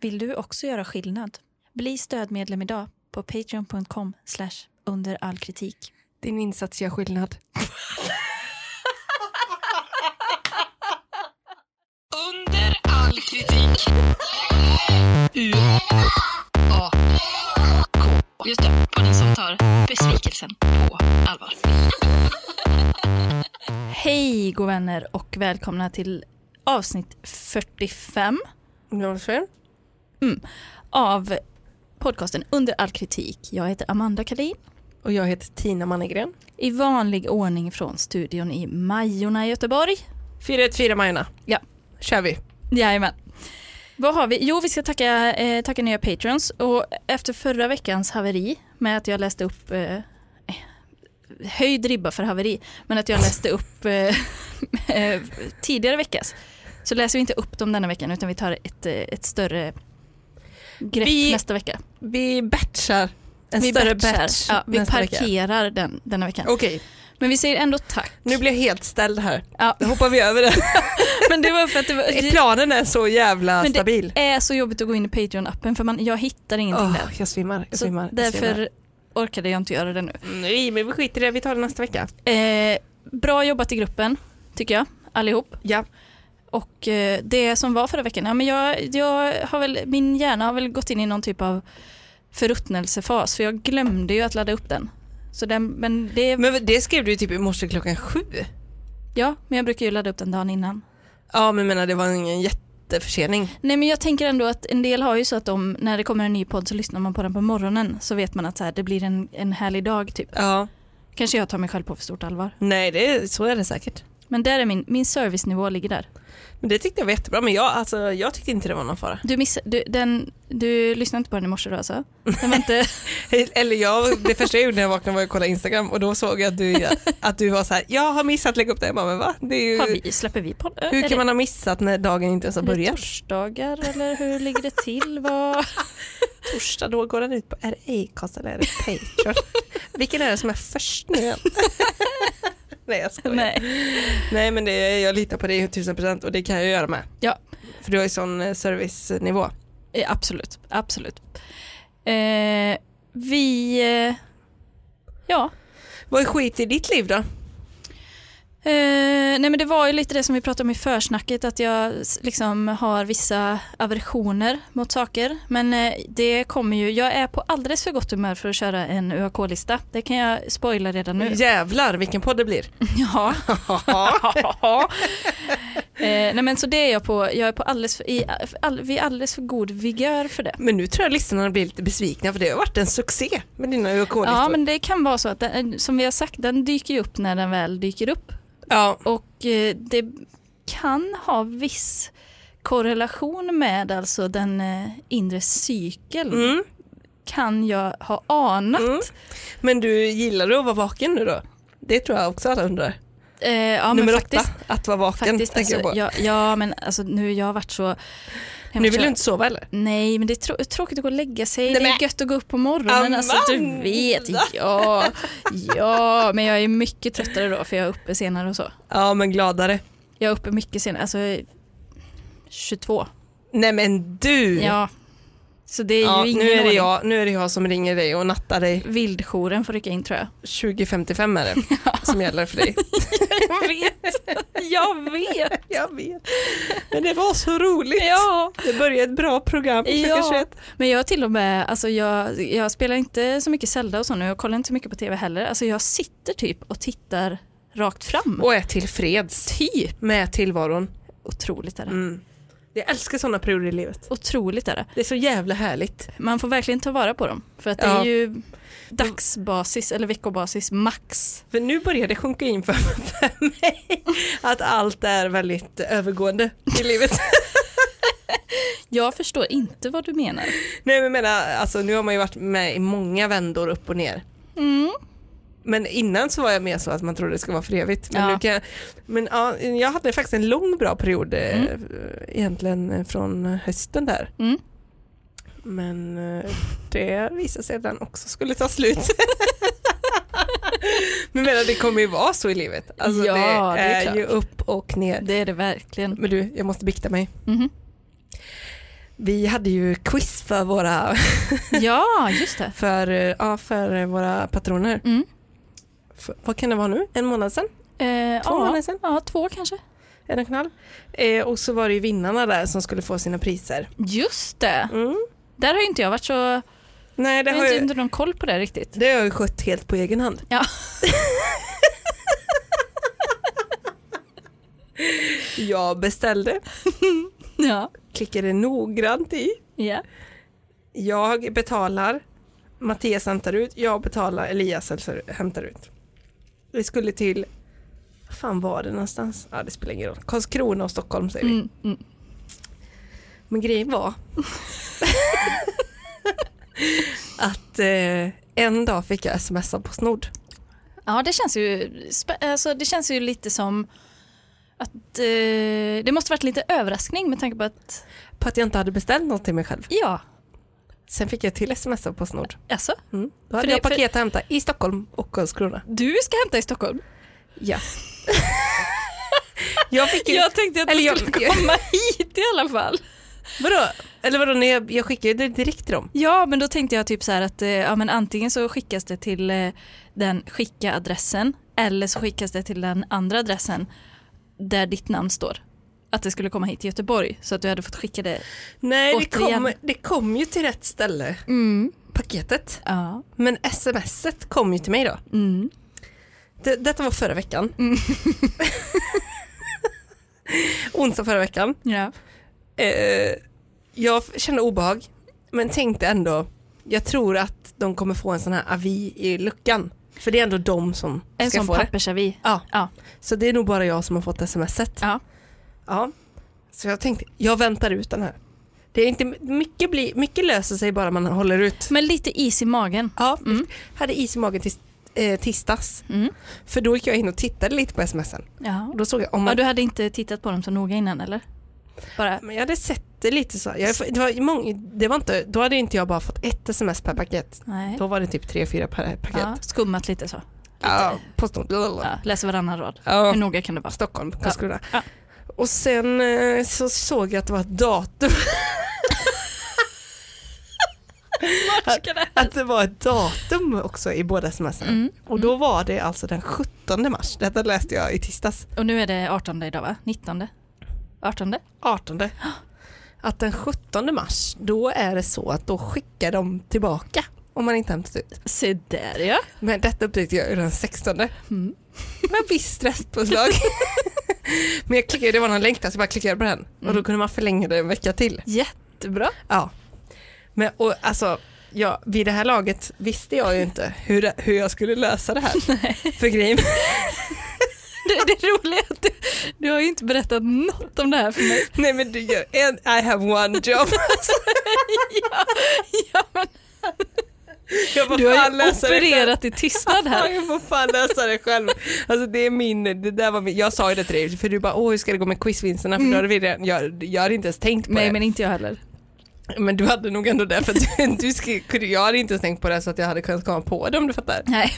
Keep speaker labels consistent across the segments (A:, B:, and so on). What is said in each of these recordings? A: Vill du också göra skillnad? Bli stödmedlem idag på patreon.com under all kritik.
B: Din insats gör skillnad.
C: Under all kritik. U A K. Just det, podden som tar besvikelsen på allvar.
A: Hej god vänner och välkomna till avsnitt 45
B: Varför?
A: av podcasten Under all kritik. Jag heter Amanda Kalin.
B: Och jag heter Tina Mannegren.
A: I vanlig ordning från studion i Majorna i Göteborg.
B: 414 Majorna.
A: Ja.
B: Kör vi.
A: Jajamän. Vad har vi? Jo, vi ska tacka, eh, tacka nya patrons och efter förra veckans haveri med att jag läste upp eh, höjd ribba för haveri, men att jag läste upp eh, eh, tidigare veckas så läser vi inte upp dem denna veckan utan vi tar ett, eh, ett större grepp
B: Vi-
A: nästa vecka.
B: Vi batchar. En
A: vi
B: större
A: batchar.
B: batch
A: ja, Vi
B: nästa vecka.
A: parkerar den denna veckan.
B: Okej,
A: Men vi säger ändå tack.
B: nu blir jag helt ställd här.
A: Ja,
B: Då hoppar vi över det.
A: men det var för att det var...
B: Planen är så jävla
A: Men det-
B: stabil.
A: Det är så jobbigt att gå in i Patreon-appen för man, jag hittar ingenting där.
B: Åh, jag svimmar. Jag
A: Så
B: svimmar jag
A: därför
B: svimmar.
A: orkade jag inte göra det nu.
B: Mm, Nej, men vi skiter i det. Vi tar det nästa vecka.
A: Eh, bra jobbat i gruppen, tycker jag, allihop.
B: Ja.
A: Och eh, det som var förra veckan, ja, men jag, jag har väl, min hjärna har väl gått in i någon typ av förruttnelsefas, för jag glömde ju att ladda upp den. Så den, men det,
B: Men det skrev du ju typ i morse klockan sju.
A: ja, men jag brukar ju ladda upp den dagen innan.
B: Ja, men jag menar det var ingen jätteförsening.
A: Nej men jag tänker ändå att en del har ju så att de, när det kommer en ny podd så lyssnar man på den på morgonen så vet man att så här, det blir en, en härlig dag typ.
B: Ja.
A: Kanske jag tar mig själv på för stort allvar.
B: Nej, det, så är det säkert.
A: Men där är min, min servicenivå ligger där.
B: Men det tyckte jag var jättebra, men jag, alltså, jag tyckte inte det var någon fara.
A: Du, miss, du, den, du lyssnade inte på den i morse då alltså? Den var inte,
B: Eller jag, det första jag gjorde när jag vaknade var att kolla Instagram och då såg jag att du, att du var så här, jag har missat att lägga upp det. Jag bara, men va? Det är
A: har
B: ju,
A: vi, släpper vi på
B: hur kan man ha missat när dagen inte ens har
A: är det
B: börjat?
A: torsdagar eller hur ligger det till? Vad?
B: Torsdag, då går den ut på, är det Acast eller är det Patreon? Vilken är det som är först nu igen? Nej jag skojar. Nej.
A: Nej.
B: Nej men det, jag litar på dig 1000% och det kan jag göra med.
A: Ja.
B: För du har ju sån eh, servicenivå.
A: Eh, Absolut, absolut. Eh, vi, eh, ja.
B: Vad är skit i ditt liv då?
A: Eh, nej men det var ju lite det som vi pratade om i försnacket att jag s- liksom har vissa aversioner mot saker men eh, det kommer ju, jag är på alldeles för gott humör för att köra en UAK-lista. Det kan jag spoila redan nu.
B: Jävlar vilken podd det blir.
A: Ja. eh, nej men så det är jag på, jag är på alldeles för, i, all, vi är alldeles för god vigör för det.
B: Men nu tror jag lyssnarna blir lite besvikna för det har varit en succé med dina UAK-listor.
A: Ja men det kan vara så att den, som vi har sagt den dyker ju upp när den väl dyker upp
B: ja.
A: och eh, det kan ha viss korrelation med alltså den eh, inre cykeln
B: Mm.
A: kan jag ha anat.
B: Mm. Men du, gillar du att vara vaken nu då? Det tror jag också alla undrar.
A: Eh, ja, men
B: Mm. Nummer
A: faktiskt,
B: åtta, att vara vaken.
A: faktiskt
B: tänker
A: alltså,
B: jag på.
A: ja, ja men alltså nu jag har varit så Nej, men
B: nu vill
A: jag-
B: du inte sova eller?
A: Nej, men det är trå- tråkigt att gå och lägga sig.
B: Nej,
A: det
B: men-
A: är gött att gå upp på morgonen. Alltså, du
B: Amanda!
A: vet, ja, ja. Men jag är mycket tröttare då för jag är uppe senare och så.
B: Ja, men gladare.
A: Jag är uppe mycket senare, alltså 22.
B: Nej men du!
A: Ja. Så det är
B: Mm. Ja,
A: ju ingen
B: nu, är det
A: ordning.
B: jag, nu är det jag som ringer dig och nattar dig.
A: Vildjouren får rycka in tror jag.
B: 2055 är det som gäller för dig.
A: Jag vet, jag vet.
B: jag vet. Men det var så roligt.
A: Ja.
B: Det började ett bra program klockan
A: Ja.
B: 21.
A: Men jag till och med, alltså jag, jag spelar inte så mycket Zelda och så nu, jag kollar inte så mycket på tv heller. Alltså jag sitter typ och tittar rakt fram.
B: Och är tillfreds
A: typ.
B: med tillvaron.
A: Otroligt är det.
B: Mm. Jag älskar sådana perioder i livet.
A: Otroligt är det.
B: Det är så jävla härligt.
A: man får verkligen ta vara på dem. För att det
B: Ja.
A: är ju dagsbasis eller veckobasis max.
B: För nu börjar det sjunka in för, för mig att allt är väldigt övergående i livet.
A: Jag förstår inte vad du menar.
B: Nej men jag menar, alltså, nu har man ju varit med i många vändor upp och ner.
A: Mm.
B: Men innan så var jag mer så att man trodde det skulle vara för evigt. Men,
A: Ja.
B: nu kan jag, men ja, jag hade faktiskt en lång bra period eh, egentligen eh, från hösten där.
A: Mm.
B: Men eh, det visade sig att den också skulle ta slut. men jag menar, det kommer ju vara så i livet. Alltså,
A: Ja,
B: det
A: det är
B: är ju upp och ner.
A: Det är det verkligen.
B: Men du, jag måste bikta mig.
A: Mhm.
B: Vi hade ju quiz för våra,
A: Ja, just det.
B: för, eh, ja, för våra patroner.
A: Mm.
B: För, vad kan det vara nu? En månad sedan?
A: Eh, ja,
B: Två månader sedan?
A: ja, två kanske.
B: En och en halv. Eh, och så var det ju vinnarna där som skulle få sina priser.
A: Just det.
B: Mm.
A: Där har ju inte jag varit så...
B: Nej, det
A: Jag
B: har,
A: har
B: jag,
A: inte någon koll på det riktigt.
B: det har jag ju skött helt på egen hand.
A: typ- Ja.
B: Jag beställde,
A: Ja.
B: klickade noggrant i.
A: ja.
B: Jag betalar, Mattias hämtar ut, jag betalar, Elias hämtar- hämtar ut. Vi skulle till, vad fan var det någonstans? Ja, det spelar ingen roll. Karlskrona och Stockholm säger vi.
A: Mm, mm.
B: Men grejen var att eh, en dag fick jag smsa på snod.
A: Ja, det känns ju, spä- alltså, det känns ju lite som att eh, det måste varit lite överraskning med tanke på att,
B: På att jag inte hade beställt något till mig själv.
A: ja,
B: Sen fick jag till sms på snod.
A: alltså,
B: Mm. Då hade
A: det-
B: jag paket att hämta i Stockholm och Karlskrona.
A: du ska hämta i Stockholm.
B: Ja. jag fick ju...
A: Typ. Jag tänkte att du
B: Eller jag-
A: skulle komma hit i alla fall.
B: Vadå? Eller vadå, när jag, jag skickade ju det direkt till dem.
A: Ja, men då tänkte jag typ så här att eh, ja, men antingen så skickas det till eh, den skicka adressen eller så skickas det till den andra adressen där ditt namn står. Att det skulle komma hit till Göteborg så att du hade fått skicka det.
B: Nej, det
A: Återigen.
B: kom, det kom ju till rätt ställe,
A: Mm.
B: paketet.
A: Ja.
B: Men smset kom ju till mig då.
A: Mm.
B: Det, detta var förra veckan. Onsdag förra veckan.
A: Ja.
B: Eh, jag f- kände obehag, men tänkte ändå, jag tror att de kommer få en sån här avi i luckan. För det är ändå de som
A: En
B: ska
A: sån
B: få det.
A: pappersavi.
B: Ja.
A: Ja.
B: Så det är nog bara jag som har fått smset.
A: Ja.
B: Ja. Så jag tänkte, jag väntar ut den här. Det är inte, mycket, blir, mycket löser sig bara man håller ut.
A: Men lite is i magen.
B: Ja,
A: Mm.
B: hade is i magen tis, eh, tisdags.
A: Mm.
B: För då gick jag in och tittade lite på smsen.
A: Ja.
B: Och då såg jag, om
A: ja,
B: man,
A: du hade inte tittat på dem så noga innan eller? Bara,
B: men jag hade sett det lite så. Jag, det var många, det var inte, då hade inte jag bara fått ett sms per paket.
A: nej.
B: Då var det typ tre, fyra per paket.
A: Ja, skummat lite så.
B: Ja, Postnord.
A: Ja, läser varannan rad.
B: Ja.
A: Hur noga kan det vara?
B: Stockholm, Karlskrona.
A: Ja.
B: Och sen eh, så såg jag att det var ett datum. Att det var ett datum också i båda smsen.
A: Mm.
B: Och då var det alltså den 17 mars. Detta läste jag i tisdags.
A: Och nu är det 18 idag va? 19? 18?
B: 18. Att den 17 mars, då är det så att då skickar de tillbaka om man inte hämtat ut.
A: Se där ja.
B: Men detta upptäckte jag ju den 16.
A: Mm.
B: Med visst restpåslag. Men jag klickade, det var någon länk där så jag bara klickade på den. Och då kunde man förlänga det en vecka till.
A: Jättebra.
B: Ja. Men och, alltså, ja, vid det här laget visste jag ju inte hur, det, hur jag skulle lösa det här. För grejen,
A: Det, det roliga är att du, du har ju inte berättat något om det här för mig.
B: nej men du gör, and I have one job.
A: Ja, ja, men
B: Jag får
A: du har
B: fan
A: ju
B: lösa det själv.
A: opererat i tystnad
B: Ja,
A: här.
B: jag får fan lösa det själv. Alltså det är min, det där var min, jag sa ju det till dig för du bara åh hur ska det gå med quizvinsterna för då hade vi redan, jag, jag hade inte ens tänkt på
A: Mm. Nej
B: det.
A: men inte jag heller.
B: Men du hade nog ändå det för att du, du skri- kunde, jag hade inte ens tänkt på det så att jag hade kunnat komma på det om du fattar.
A: Nej.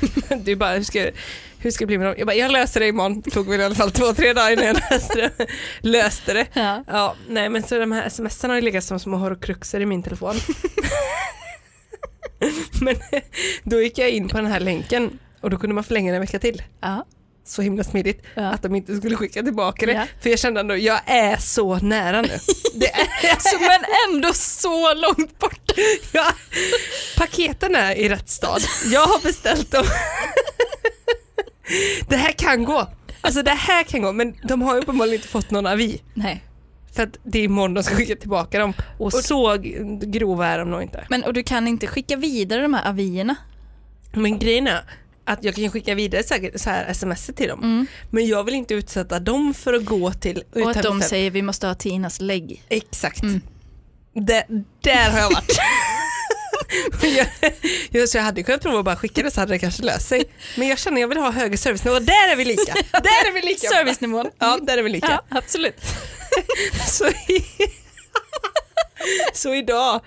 B: Du bara, hur ska, hur ska det bli med dem? Jag bara, jag löser det imorgon. Det tog väl i alla fall två, tre dagar innan jag löste det. löste det.
A: Ja.
B: Ja, nej men så de här sms'en har ju legat som små horrokruxer i min telefon. men då gick jag in på den här länken och då kunde man förlänga den en vecka till.
A: Ja.
B: Så himla smidigt
A: Ja.
B: att de inte skulle skicka tillbaka det.
A: Ja.
B: För jag kände ändå, jag är så nära nu. Det är, alltså,
A: Så, men ändå så långt borta.
B: Ja, paketen är i rätt stad. Jag har beställt dem. Det här kan gå. Alltså det här kan gå, men de har ju uppenbarligen inte fått någon avi.
A: Nej.
B: För att det är imorgon de ska skicka tillbaka dem. Och så grova är de nog inte.
A: Men och du kan inte skicka vidare de här avierna?
B: Men grejen är att jag kan skicka vidare säkert så här sms till dem. Men jag vill inte utsätta dem för att gå till
A: Mm. Och att de
B: uthämtningsstället.
A: säger Mm. vi måste ha Tinas lägg.
B: Exakt. Där, där har jag varit. Men jag, jag, så jag hade kunnat prova att bara skicka det så hade det kanske löst sig. Men jag känner jag vill ha högre servicenivå. Där är vi lika. Där är vi lika.
A: Servicenivån.
B: Ja, där är vi lika.
A: Ja, absolut.
B: Så, i, så idag,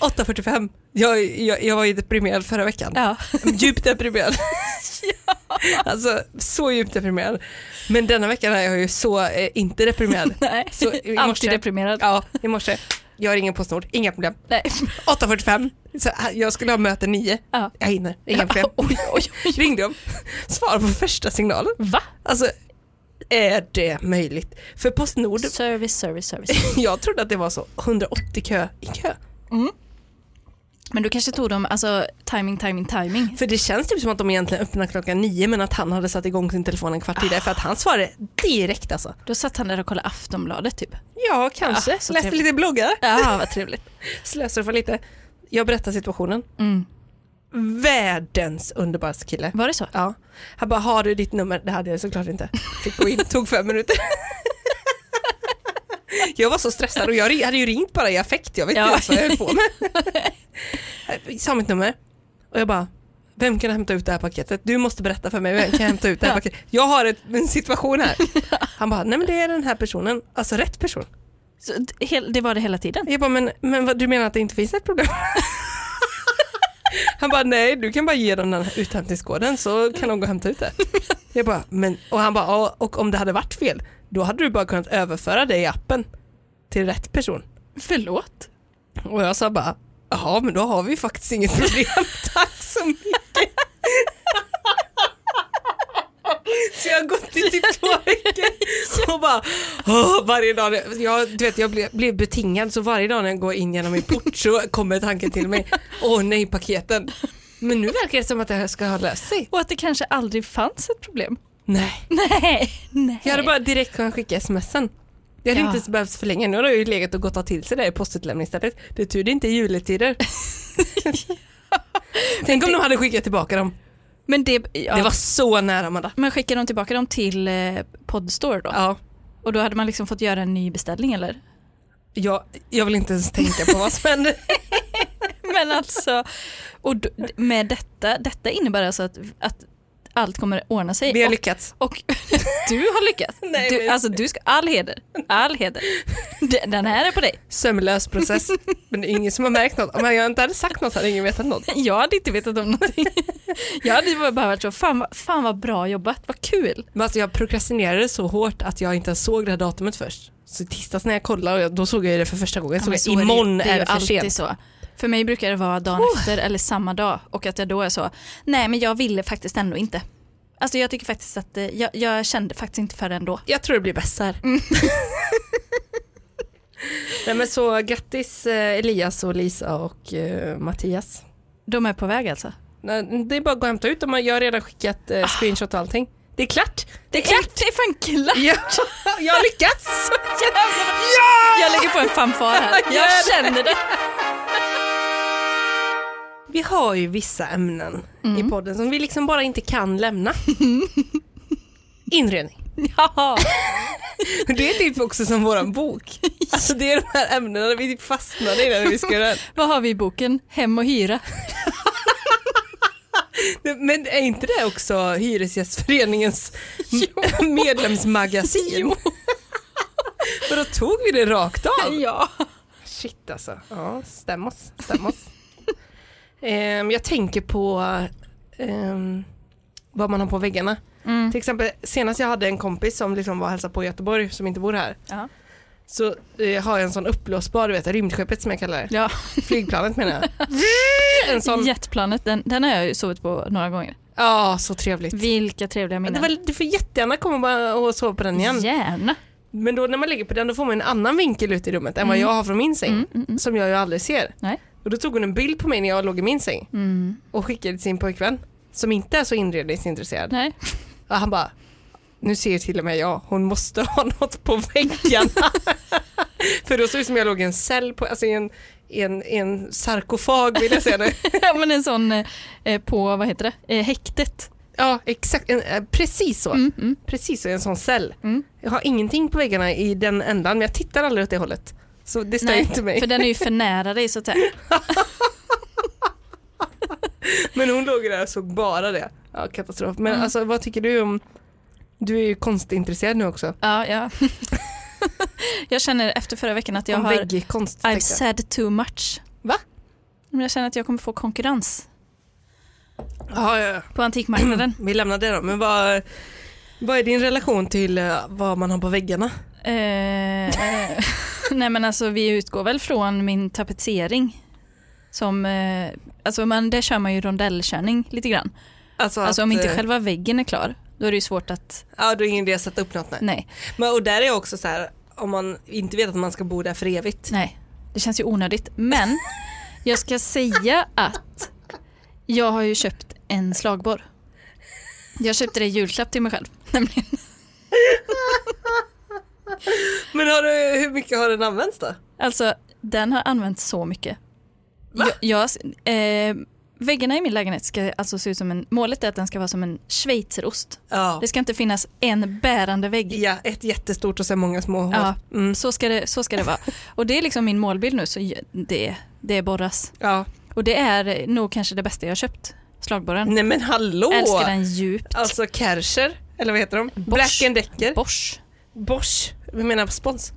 B: 8.45. Jag, jag, jag var ju deprimerad förra veckan.
A: Ja.
B: Djupt deprimerad. Alltså så djupt deprimerad. Men denna veckan är jag ju så eh, inte deprimerad.
A: Nej.
B: Så i morse-
A: Antideprimerad.
B: Ja, i morse. Jag ringer Postnord, inga problem.
A: Nej.
B: 8.45, så här, jag skulle ha möte 9.
A: Ja.
B: Jag hinner, inga problem.
A: Oj, oj, oj.
B: Ringde de, svar på första signalen.
A: Va?
B: Alltså, är det möjligt? För Postnord,
A: Service, service, service.
B: jag trodde att det var så 180 kö i kö.
A: Men du kanske tog dem, alltså timing, timing, timing.
B: För det känns typ som att de egentligen öppnar klockan 9 men att han hade satt igång sin telefon en kvart tidigare för att han svarade direkt alltså.
A: Då satt han där och kollade Aftonbladet typ.
B: Ja, kanske.
A: Ja, så
B: Läste
A: trevligt.
B: lite bloggar.
A: Ja, vad trevligt.
B: Slösurfar lite. Jag berättar situationen.
A: Mm.
B: Världens underbaraste kille.
A: Var det så?
B: Ja. Han bara, har du ditt nummer? Det hade jag såklart inte. Fick gå in, tog fem minuter. Jag var så stressad och jag ring- hade ju ringt bara i affekt, jag vet
A: Ja.
B: inte ens vad jag höll på med. Sa mitt nummer och jag bara, vem kan hämta ut det här paketet? Du måste berätta för mig, vem kan hämta ut det här
A: Ja.
B: paketet? Jag har ett, en situation här. Han bara, nej men det är den här personen, alltså rätt person.
A: så d- hel, det var det hela tiden?
B: Jag bara, men, men vad, du menar att det inte finns ett problem? Han bara, nej du kan bara ge dem den här uthämtningskoden så kan de gå och hämta ut det. Jag bara, men, och han bara, "Ja, och om det hade varit fel, då hade du bara kunnat överföra det i appen till rätt person.
A: Förlåt?
B: Och jag sa bara, jaha men då har vi faktiskt inget problem, tack så mycket. Så jag har gått i typ två veckor och bara, åh, varje dag, när- jag, du vet jag blev, blev betingad så varje dag när jag går in genom min port så kommer tanken till mig, åh nej paketen. Men nu verkar det som att det här ska ha löst sig.
A: Och att det kanske aldrig fanns ett problem?
B: Nej.
A: Nej, nej.
B: Jag hade bara direkt kunnat skicka smsen. Jag hade
A: Ja.
B: inte ens behövt förlänga, nu har det ju legat och gottat till sig där i postutlämningsstället. Det är tur det inte är juletider. Tänk om de hade skickat tillbaka dem.
A: Men det, ja.
B: Det var så nära Amanda.
A: Man skickade de tillbaka dem till eh, Podstore då?
B: Ja,
A: Och då hade man liksom fått göra en ny beställning eller?
B: jag, jag vill inte ens tänka på vad som hände.
A: Men alltså, och d- med detta, detta innebär alltså att, att allt kommer att ordna sig.
B: Vi har
A: Och-
B: lyckats.
A: Och du har lyckats.
B: Nej,
A: du,
B: men-
A: Alltså du ska, all heder, all heder. D- Den här är på dig.
B: Sömlös process. Men det är ingen som har märkt något. Om jag inte hade sagt något hade ingen vetat något.
A: Jag hade inte vetat om någonting. Jag hade bara varit så, fan, vad- fan vad bra jobbat, vad kul.
B: Men alltså jag prokrastinerade så hårt att jag inte ens såg det här datumet först. Så i tisdags när jag kollade, och jag- då såg jag det för första gången.
A: Ja,
B: så
A: men
B: jag,
A: är det ju.
B: imorgon
A: ju
B: är det för
A: alltid
B: sent.
A: Så. För mig brukar det vara dagen efter eller samma dag och att jag då är så, nej men jag ville faktiskt ändå inte. Alltså jag tycker faktiskt att, eh, jag, jag kände faktiskt inte för det ändå.
B: Jag tror det blir bäst så här. Nej men så grattis eh, Elias och Lisa och eh, Mattias.
A: De är på väg alltså.
B: Nej, Det är bara att gå och hämta ut dem. Jag har redan skickat eh, screenshot och allting. Det är klart!
A: Det är klart, det är fan klart.
B: Ja, jag har lyckats!
A: Jag lägger på en fanfar här. Jag känner det.
B: Vi har ju vissa ämnen i podden som vi liksom bara inte kan lämna. Inredning.
A: Ja.
B: Det är typ också som våran bok. Alltså det är de här ämnena vi fastnade i när vi skrev den.
A: Vad har vi i boken? Hem och hyra.
B: Men är inte det också Hyresgästföreningens medlemsmagasin? Och då tog vi det rakt av.
A: Ja.
B: Shit alltså. Ja, stäm oss. Stäm oss. Ehm, jag tänker på ehm, vad man har på väggarna.
A: Mm.
B: Till exempel senast jag hade en kompis som liksom var och hälsade på i Göteborg som inte bor här.
A: Ja.
B: Så eh, har jag en sån uppblåsbar, du vet rymdskeppet som jag kallar det.
A: ja.
B: Flygplanet menar jag. En sån.
A: Jetplanet, den, den har jag ju sovit på några gånger.
B: Ja, så trevligt.
A: Vilka trevliga
B: Det
A: minnen.
B: var, du får jättegärna komma och bara- och sova på den igen.
A: Gärna.
B: Men då när man lägger på den då får man en annan vinkel ut i rummet än vad
A: Mm.
B: jag har från min säng. Som jag ju aldrig ser.
A: Nej.
B: Och då tog hon en bild på mig när jag låg i min säng
A: Mm.
B: och skickade till sin pojkvän som inte är så inredningsintresserad.
A: Nej.
B: Och han bara, nu ser till och med jag, hon måste ha något på väggarna. För då såg det ut som jag låg i en cell, på, alltså i en, i en, i en sarkofag vill jag säga nu.
A: Ja, men en sån eh, eh, på, vad heter det, eh, häktet.
B: Ja, exakt, en, eh, precis så.
A: Mm, mm.
B: Precis så, i en sån cell.
A: Mm.
B: Jag har ingenting på väggarna i den ändan, men jag tittar aldrig åt det hållet. Så det stör inte mig.
A: för den är ju för nära dig så att säga.
B: Men hon låg där och såg bara det. Ja, katastrof. Men
A: Mm.
B: alltså, vad tycker du om... Du är ju konstintresserad nu också.
A: Ja, ja. Jag känner efter förra veckan att jag
B: om
A: har,
B: väggkonst.
A: I've
B: tänkte jag.
A: said too much.
B: Va?
A: Men jag känner att jag kommer få konkurrens
B: Ja, ja, ja.
A: på antikmarknaden.
B: Vi lämnar det då, men vad, vad är din relation till eh, vad man har på väggarna?
A: Eh, eh, Nej men alltså vi utgår väl från min tapetsering. Som, eh, alltså man, där kör man ju rondellkörning lite grann.
B: Alltså,
A: Alltså
B: att,
A: om inte
B: eh,
A: själva väggen är klar, då är det ju svårt att,
B: Ja, då är det ingen idé att sätta upp något. Nej.
A: nej,
B: Men, och där är jag också så här, om man inte vet att man ska bo där för evigt.
A: nej, det känns ju onödigt. Men jag ska säga att jag har ju köpt en slagborr. Jag köpte det i julklapp till mig själv. Nämligen.
B: Men har du, hur mycket har den använts då?
A: Alltså den har använts så mycket. Jag, jag, eh, väggarna i min lägenhet ska alltså se ut som en, målet är att den ska vara som en schweizerost.
B: Ja.
A: Det ska inte finnas en bärande vägg.
B: ja, ett jättestort och sen många små hål.
A: Ja,
B: Mm.
A: så, ska det, så ska det vara. Och det är liksom min målbild nu, så j- det, det borras.
B: ja.
A: Och det är nog kanske det bästa jag har köpt, slagborren.
B: Nej men hallå!
A: Älskar den djupt.
B: Alltså Kärcher, eller vad heter de?
A: Bosch.
B: Black and Decker.
A: Bosch.
B: Bosch. Vi menar spons.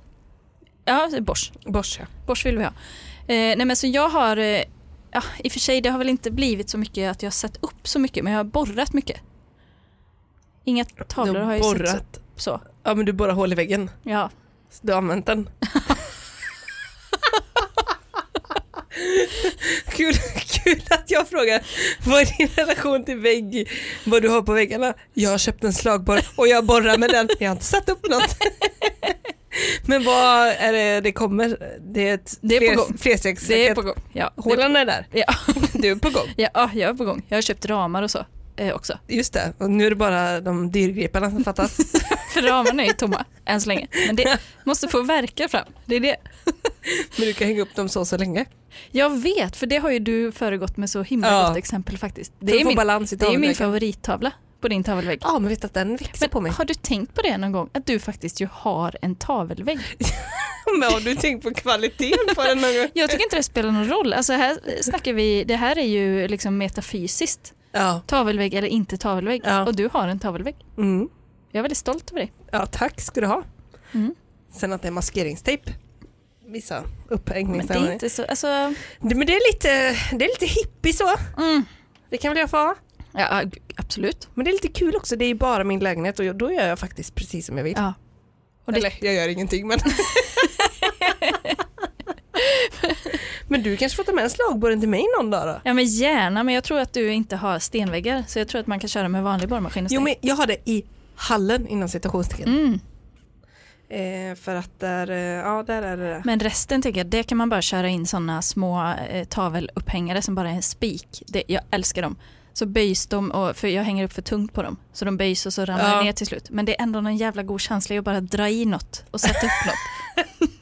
A: Ja, Bosch.
B: Bosch ja.
A: Bosch vill vi ha. Eh, nej men så jag har, eh, ja, i och för sig det har väl inte blivit så mycket att jag har sett upp så mycket, men jag har borrat mycket. Inga tavlor
B: Du
A: har jag ju sett
B: borrat.
A: upp så.
B: Ja men du borrar hål i väggen.
A: Ja.
B: Så Du har använt den. kul, kul att jag frågar vad är din relation till vägg, vad du har på väggarna. Jag har köpt en slagborr och jag borrar med den. Jag har inte satt upp något. men vad är det det kommer? Det är ett
A: Det är på gång.
B: flerstegsraket.
A: Det är på gång. Ja, det är,
B: Hålan är där.
A: ja.
B: Du är på gång.
A: ja, jag är på gång. Jag har köpt ramar och så eh, också.
B: Just det, och nu är det bara de dyrgriparna som fattas.
A: För ramarna är tomma än så länge. Men det måste få verka fram. Det är det.
B: Men du kan hänga upp dem så så länge.
A: Jag vet, för det har ju du föregått med så himla
B: Ja.
A: gott exempel faktiskt.
B: För
A: Det
B: att
A: är
B: få
A: min,
B: balans i
A: det är min
B: tavelväggen.
A: favorittavla på din tavelvägg.
B: Ja, men vet att den växer på
A: Men
B: mig.
A: har du tänkt på det någon gång, att du faktiskt ju har en tavelvägg?
B: Men har du tänkt på kvaliteten på den någon gång?
A: Jag tycker inte det spelar någon roll. Alltså här snackar vi, det här är ju liksom metafysiskt.
B: Ja.
A: Tavelvägg eller inte tavelvägg.
B: Ja.
A: Och du har en tavelvägg.
B: Mm.
A: Jag är väldigt stolt över dig.
B: ja, tack ska du ha.
A: Mm.
B: Sen att det är maskeringstejp. Vissa
A: Men det är
B: upphängningssammanhang.
A: inte så, alltså,
B: Det, men det är lite, det är lite hippie så.
A: mm.
B: Det kan väl jag få ha.
A: ja, g- absolut.
B: Men det är lite kul också, det är ju bara min lägenhet och jag, då gör jag faktiskt precis som jag vill.
A: Ja. Och det,
B: Eller jag gör ingenting men. men du kanske får ta med en slagborren till mig någon dag då?
A: ja men gärna, men jag tror att du inte har stenväggar så jag tror att man kan köra med vanlig borrmaskin
B: Jo
A: istället.
B: men jag har det i hallen inom citationstecken.
A: Mm.
B: Eh, för att där, eh, ja där är det.
A: Men resten tänker jag, det kan man bara köra in sådana små eh, tavelupphängare som bara är en spik. Det, jag älskar dem. Så böjs de, och, för jag hänger upp för tungt på dem, så de böjs och så ramlar
B: Ja.
A: jag ner till slut. Men det är ändå någon jävla god känsla i att bara dra i något och sätta upp något.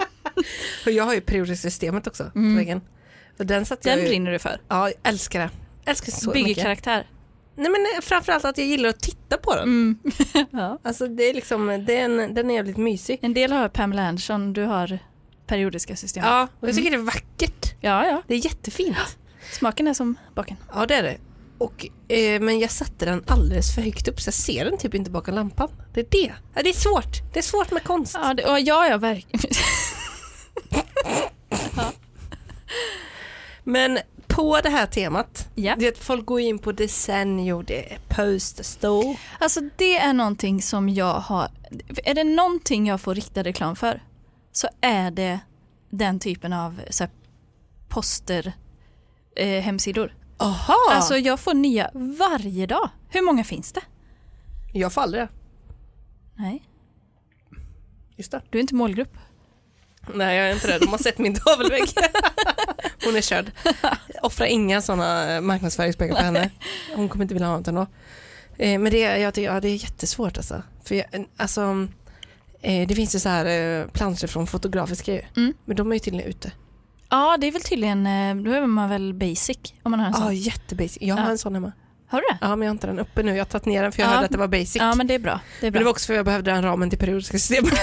B: Och jag har ju priorisystemet också
A: Mm.
B: på väggen. Och den satt
A: Den
B: jag ju,
A: brinner du för.
B: Ja, jag älskar det. Jag älskar det så
A: Bygger
B: mycket.
A: karaktär.
B: Nej men eh, framförallt att jag gillar att titta på den.
A: Mm. ja.
B: Alltså det är liksom, det är en, den är jävligt mysig.
A: En del har Pamela Anderson, du har periodiska system.
B: Ja, och jag
A: Mm.
B: tycker det är vackert.
A: ja, ja.
B: Det är jättefint.
A: Smaken är som baken.
B: Ja det är det. Och, eh, men jag satte den alldeles för högt upp så jag ser den typ inte bakom lampan. Det är det. Ja, det är svårt. Det är svårt med konst.
A: Ja, det, och ja, ja verkligen.
B: Men på det här temat,
A: Ja.
B: du vet folk går in på design och det är post store.
A: Alltså det är någonting som jag har, är det någonting jag får riktad reklam för så är det den typen av så här, poster eh, hemsidor.
B: Aha!
A: Alltså jag får nya varje dag. Hur många finns det?
B: jag får aldrig det.
A: Nej,
B: Just det.
A: du är inte målgrupp.
B: Nej jag är inte det, de har sett min tavelvägg. Hon är körd. Offra inga sådana marknadsföringspengar på henne. Hon kommer inte vilja ha något ändå. Eh, Men det, jag tycker, ja, det är jättesvårt alltså. För jag, en- alltså eh, det finns ju så här eh, planscher från fotografiska ju.
A: Mm.
B: Men de är ju tydligen ute.
A: Ja, det är väl tydligen, eh, då är man väl basic om man har en
B: Ja,
A: sån.
B: jättebasic. Jag
A: Alltså. Ja.
B: har en sån hemma.
A: Har du det?
B: Ja, men jag har inte den uppe nu. Jag har tagit ner den för jag
A: Ja.
B: hörde att det var basic.
A: Ja, men det är bra. Det är
B: Men det
A: bra.
B: var också för att jag behövde den ramen till periodiska systemet.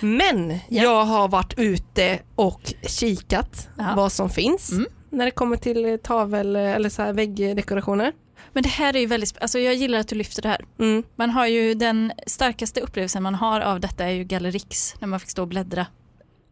B: Men jag har varit ute och kikat
A: Ja.
B: vad som finns
A: Mm.
B: när det kommer till eh, tavel eller så här väggdekorationer.
A: Men det här är ju väldigt, sp- alltså jag gillar att du lyfter det här.
B: Mm.
A: Man har ju den starkaste upplevelsen man har av detta är ju Gallerix när man fick stå och bläddra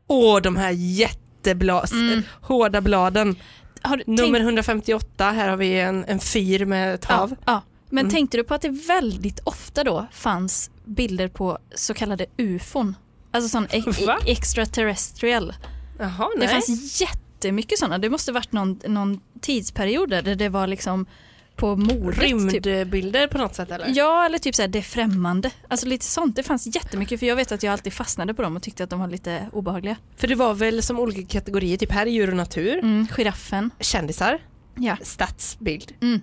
B: Och de här jättebla, s-
A: Mm.
B: hårda bladen.
A: Har du
B: Nummer
A: tänkt,
B: 158, här har vi en, en fyr med
A: ja,
B: tav. Mm.
A: ja. Men tänkte du på att det väldigt ofta då fanns bilder på så kallade ufon. Alltså sån e-
B: Va?
A: e- extraterrestrial.
B: Jaha,
A: Det
B: nej.
A: fanns jättemycket sådana. Det måste varit någon, någon tidsperiod där det var liksom på modet. Typ.
B: Rymdbilder på något sätt eller?
A: Ja, eller typ såhär det främmande. Alltså lite sånt. Det fanns jättemycket för jag vet att jag alltid fastnade på dem och tyckte att de var lite obehagliga.
B: För det var väl som olika kategorier, typ här är djur och natur,
A: Mm, giraffen.
B: kändisar,
A: Ja.
B: stadsbild.
A: Mm.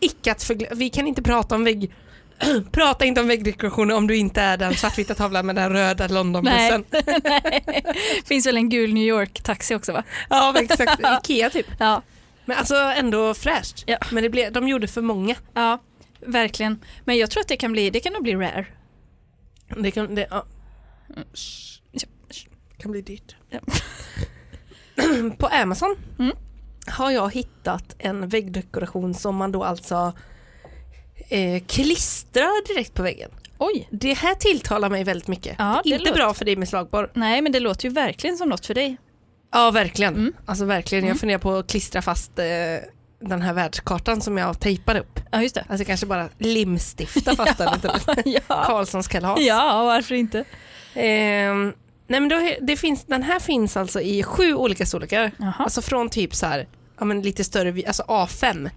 B: Icke att förgl- vi kan inte prata om vägg... prata inte om väggdekorationer om du inte är den svartvita tavlan med den röda Londonbussen.
A: Finns väl en gul New York-taxi också va?
B: Ja, men exakt. Ikea typ.
A: Ja.
B: Men alltså ändå fräscht.
A: Ja.
B: Men det blev, de gjorde för många.
A: Ja, verkligen. Men jag tror att det kan bli, det kan nog bli rare.
B: Det kan, det, ja.
A: Ja.
B: kan bli dyrt.
A: Ja.
B: På Amazon
A: Mm.
B: har jag hittat en väggdekoration som man då alltså eh, klistrar direkt på väggen.
A: Oj!
B: Det här tilltalar mig väldigt mycket.
A: Ja, det
B: Inte
A: låter-
B: bra för dig med slagborr.
A: Nej, men det låter ju verkligen som något för dig.
B: Ja, verkligen.
A: Mm.
B: Alltså verkligen. Jag funderar på att klistra fast eh, den här världskartan som jag tejpar upp.
A: Ja, just det.
B: Alltså kanske bara limstifta fast den lite.
A: ja.
B: Karlssons kalas.
A: ja, varför inte?
B: Ehm, nej men då, det finns, den här finns alltså i sju olika storlekar.
A: Jaha.
B: Alltså från typ så här, ja men lite större, vi- alltså A5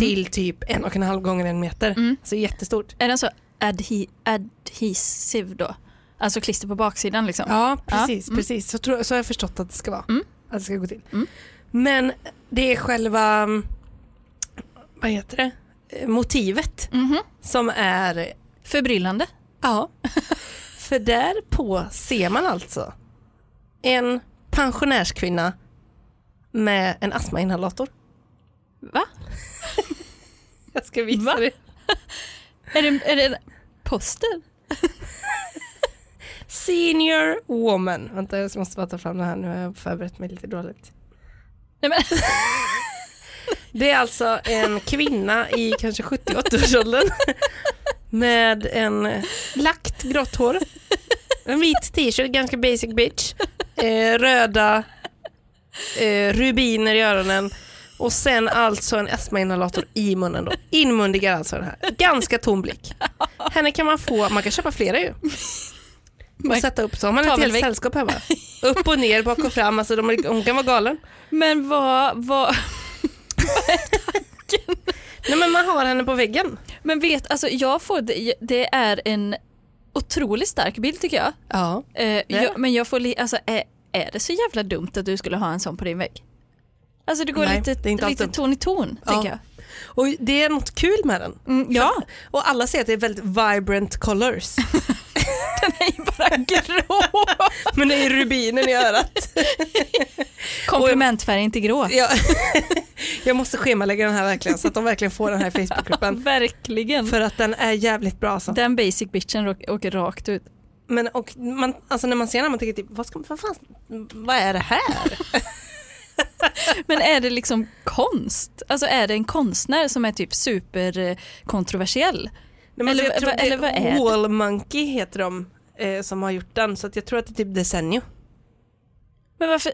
B: till typ en och en halv gånger en meter.
A: Mm.
B: Så jättestort.
A: Är den så adhe- adhesiv då? Alltså klister på baksidan liksom?
B: Ja, precis.
A: Ja, mm.
B: precis. Så, tror, jag- så har jag förstått att det ska vara.
A: Mm.
B: Att det ska gå till.
A: Mm.
B: Men det är själva, mm, vad heter det, Eh, motivet
A: Mhm.
B: som är,
A: Förbryllande.
B: ja. För där på ser man alltså en pensionärskvinna med en astmainhalator.
A: Va?
B: Jag ska visa
A: Va?
B: dig.
A: Är det, är det en poster?
B: Senior woman. Vänta, jag måste bara ta fram det här nu. har Jag förberett mig lite dåligt.
A: Nej, men,
B: Det är alltså en kvinna i kanske 70-80-årsåldern med en eh, lagt grått hår, en vit t-shirt, ganska basic bitch, eh, röda eh, rubiner i öronen och sen alltså en astmainhalator i munnen då. Inmundigar alltså den här. Ganska tom blick. Henne kan man få, man kan köpa flera ju. Och
A: Man-
B: sätta upp så har man ett helt
A: Tavelvägg.
B: sällskap hemma. Upp och ner, bak och fram, alltså de, hon kan vara galen.
A: men vad, vad,
B: Nej men man har henne på väggen.
A: men vet, alltså jag får, det, det är en otroligt stark bild tycker jag.
B: Ja.
A: Eh,
B: Ja.
A: jag, men jag får, li- alltså, är, är det så jävla dumt att du skulle ha en sån på din vägg? Alltså det går
B: Nej,
A: lite,
B: det är inte alls
A: lite
B: dumt.
A: ton i ton,
B: Ja.
A: tänker jag.
B: Och det är något kul med den.
A: Mm, ja,
B: Och alla säger att det är väldigt vibrant colors.
A: den är ju bara grå.
B: Men det är rubinen i örat.
A: Komplementfärgen till grå.
B: Jag, jag måste schemalägga den här verkligen så att de verkligen får den här Facebookgruppen.
A: Verkligen.
B: För att den är jävligt bra alltså.
A: Den basic bitchen råk- åker rakt ut.
B: Men och man, alltså när man ser den man tänker typ, vad, ska, vad fan, vad är det här?
A: Men är det liksom konst? Alltså är det en konstnär som är typ superkontroversiell?
B: Nej, men
A: Eller
B: alltså, jag
A: vad-
B: tror
A: vad-
B: det-
A: eller vad är det?
B: Wall Monkey heter de eh, som har gjort den. Så att jag tror att det är typ Desenio.
A: Men varför?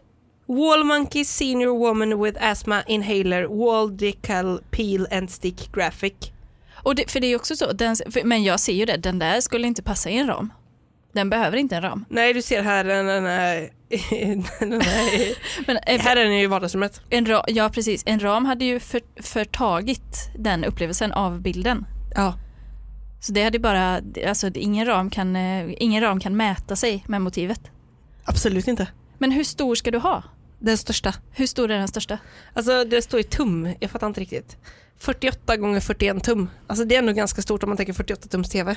B: Wall Monkey Senior Woman with Asthma Inhaler Wall Decal Peel and Stick Graphic.
A: Och det, för det är ju också så, den, för, men jag ser ju det, den där skulle inte passa i en ram. Den behöver inte en ram.
B: Nej, du ser här den den här... den här
A: Men eh, är,
B: här är den i vardagsrummet.
A: En ra- ja precis, en ram hade ju för- förtagit den upplevelsen av bilden.
B: Ja.
A: Så det hade bara, alltså det- ingen ram, kan, eh, ingen ram kan mäta sig med motivet.
B: Absolut inte.
A: Men hur stor ska du ha?
B: Den största.
A: Hur stor är den största?
B: Alltså det står i tum, jag fattar inte riktigt. 48 gånger 41 tum. Alltså det är ändå ganska stort om man tänker 48 tums TV.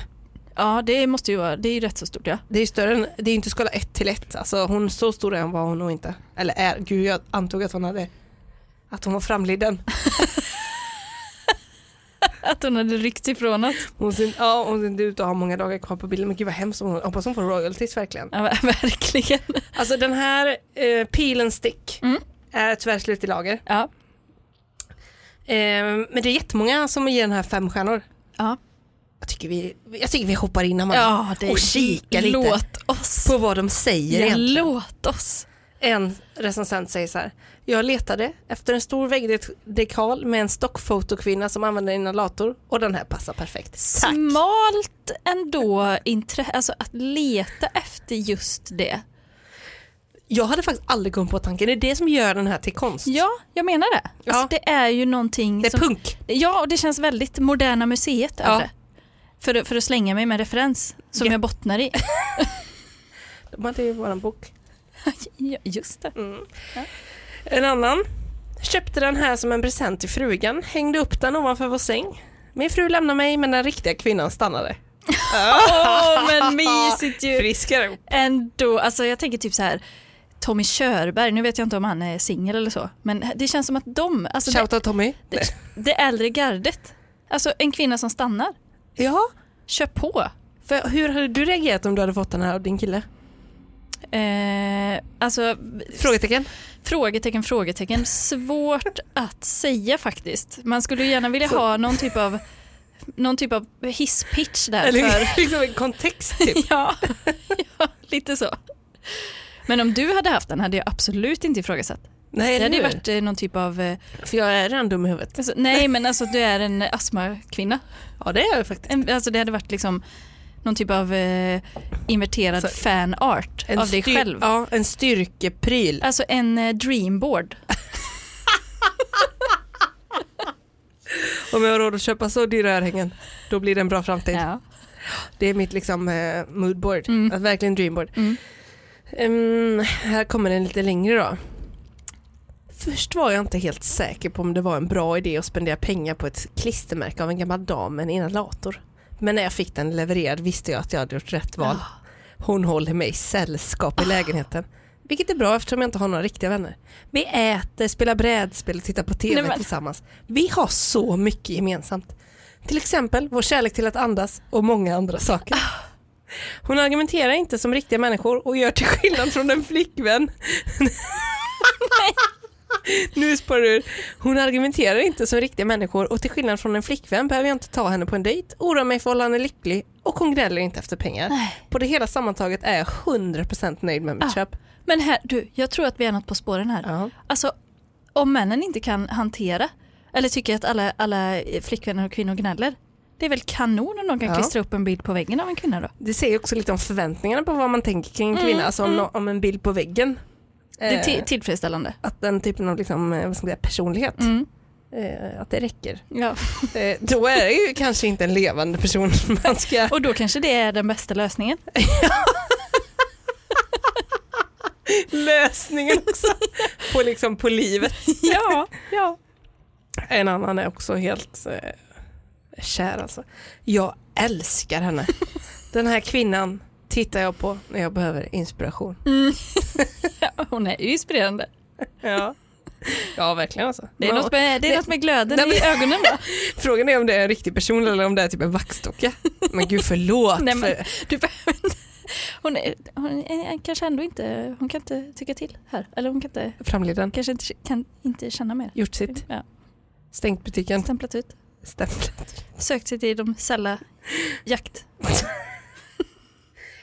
A: Ja det måste ju vara, det är ju rätt så stort ja.
B: Det är ju större än, det är inte skala 1 till 1. Alltså hon, så stor är hon var hon nog inte. Eller är, gud jag antog att hon hade, att hon var framliden.
A: Att hon hade ryckt ifrån något.
B: Hon ser, ja, hon ser inte ut att ha många dagar kvar på bilden, men gud vad hemskt hon Hoppas hon får royalties verkligen.
A: Ja, ver- verkligen.
B: Alltså den här eh, peel and stick
A: Mm.
B: är tyvärr slut i lager.
A: Ja.
B: Eh, men det är jättemånga som ger den här fem stjärnor.
A: Ja,
B: Jag tycker vi, jag tycker vi hoppar in Amanda,
A: ja det
B: och kikar lite
A: Låt oss.
B: på vad de säger
A: Ja,
B: egentligen.
A: låt oss.
B: en recensent säger så här. Jag letade efter en stor väggdekal med en stockfotokvinna som använder inhalator och den här passar perfekt. Tack!
A: Smalt ändå intresse, alltså att leta efter just det.
B: Jag hade faktiskt aldrig kommit på tanken. Det är det som gör den här till konst.
A: Ja, jag menar det.
B: Ja.
A: Alltså, det är ju någonting
B: det är
A: som...
B: punk.
A: Ja, och det känns väldigt Moderna Museet
B: Ja.
A: över det. För, för att slänga mig med referens som
B: Ja.
A: jag bottnar i.
B: De hade ju våran bok.
A: ja, just det.
B: Mm. En annan. Köpte den här som en present till frugan. Hängde upp den ovanför vår säng. Min fru lämnade mig men den riktiga kvinnan stannade.
A: Åh, men mysigt ju.
B: Friskare.
A: Ändå, alltså jag tänker typ så här. Tommy Körberg, nu vet jag inte om han är singel eller så, men det känns som att de, alltså det,
B: Shoutout Tommy.
A: det, det äldre gardet, alltså en kvinna som stannar,
B: Ja,
A: kör på.
B: för hur hade du reagerat om du hade fått den här av din kille?
A: Eh, alltså,
B: Frågetecken.
A: Frågetecken, frågetecken. Svårt att säga faktiskt. Man skulle ju gärna vilja
B: Så-
A: ha någon typ av, någon typ av hisspitch där. För,
B: Eller liksom en kontext typ.
A: ja, ja, lite så. Men om du hade haft den hade jag absolut inte ifrågasatt.
B: Nej,
A: Det hade ju
B: eller
A: varit eh, någon typ av, eh,
B: hur? För jag är redan dum i huvudet.
A: alltså, nej men alltså du är en astmakvinna.
B: Ja, det är jag faktiskt.
A: En, alltså det hade varit liksom någon typ av eh, inverterad
B: Så-
A: fanart av dig
B: styr-
A: själv.
B: Ja, en styrkepryl.
A: Alltså en eh, dreamboard.
B: Om jag har råd att köpa så dyra örhängen, då blir det en bra framtid.
A: Ja.
B: Det är mitt liksom eh, moodboard,
A: Mm.
B: att verkligen dreamboard.
A: Mm.
B: Ehm, här kommer den lite längre då. Först var jag inte helt säker på om det var en bra idé att spendera pengar på ett klistermärke av en gammal dam med en inhalator. Men när jag fick den levererad visste jag att jag hade gjort rätt val. Hon håller mig i sällskap i lägenheten. Vilket är bra eftersom jag inte har några riktiga vänner. Vi äter, spelar brädspel och tittar på TV
A: Nej, men-
B: tillsammans. Vi har så mycket gemensamt. Till exempel vår kärlek till att andas och många andra saker. Hon argumenterar inte som riktiga människor och gör till skillnad från en flickvän. nu spårar du ur. Hon argumenterar inte som riktiga människor och till skillnad från en flickvän behöver jag inte ta henne på en dejt, oroa mig för att hon är lycklig och hon gnäller inte efter pengar.
A: Nej.
B: På det hela sammantaget är jag 100% nöjd med mitt
A: Ah.
B: köp.
A: Men här, du, jag tror att vi är något på spåren här.
B: Ja.
A: Alltså, om männen inte kan hantera eller tycker att alla, alla flickvänner och kvinnor gnäller, det är väl kanon om de kan
B: Ja.
A: klistra upp en bild på väggen av en kvinna då?
B: Det säger också lite om förväntningarna på vad man tänker kring en
A: Mm,
B: kvinna, alltså om, nå- om en bild på väggen.
A: Det är
B: Eh,
A: ti- tillfredsställande.
B: att den typen av liksom, eh, vad ska man säga, personlighet,
A: Mm.
B: eh, att det räcker.
A: Ja.
B: Eh, då är det ju kanske inte en levande person man ska...
A: Och då kanske det är den bästa lösningen.
B: Lösningen också på, liksom, på livet.
A: ja, ja.
B: En annan är också helt eh, kär alltså. Jag älskar henne. Den här kvinnan tittar jag på när jag behöver inspiration.
A: Mm. Hon är ju inspirerande.
B: Ja, ja verkligen alltså.
A: Det är,
B: Man-
A: något, med, det är
B: Nej.
A: något med glöden
B: Nej, men-
A: i ögonen va?
B: Frågan är om det är en riktig person eller om det är typ en vaxdocka. Men gud förlåt.
A: Nej, men-
B: för,
A: Du behöver inte. Hon, är, hon är, kanske ändå inte, hon kan inte tycka till här. Eller hon kan inte,
B: framleden.
A: kanske inte, kan inte känna mer.
B: Gjort sitt.
A: Ja.
B: Stängt butiken.
A: Stämplat ut.
B: Stämplat.
A: sökt sig till de sälla jakt.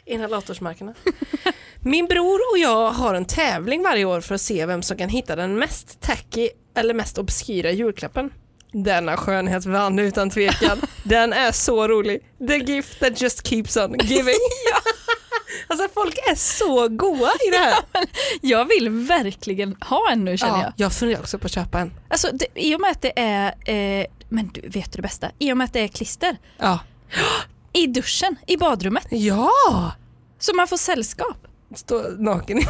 B: Inhalatorsmarkerna. Min bror och jag har en tävling varje år för att se vem som kan hitta den mest tacky eller mest obskyra julklappen. Denna skönhet vann utan tvekan. Den är så rolig. The gift that just keeps on giving. Alltså folk är så goa i det här.
A: Jag vill verkligen ha en nu känner jag.
B: jag funderar också på att köpa en.
A: Alltså, det, I och med att det är, eh, men du vet du det bästa, i och med att det är klister
B: Ja.
A: i duschen, i badrummet,
B: Ja!
A: så man får sällskap.
B: Stå naken i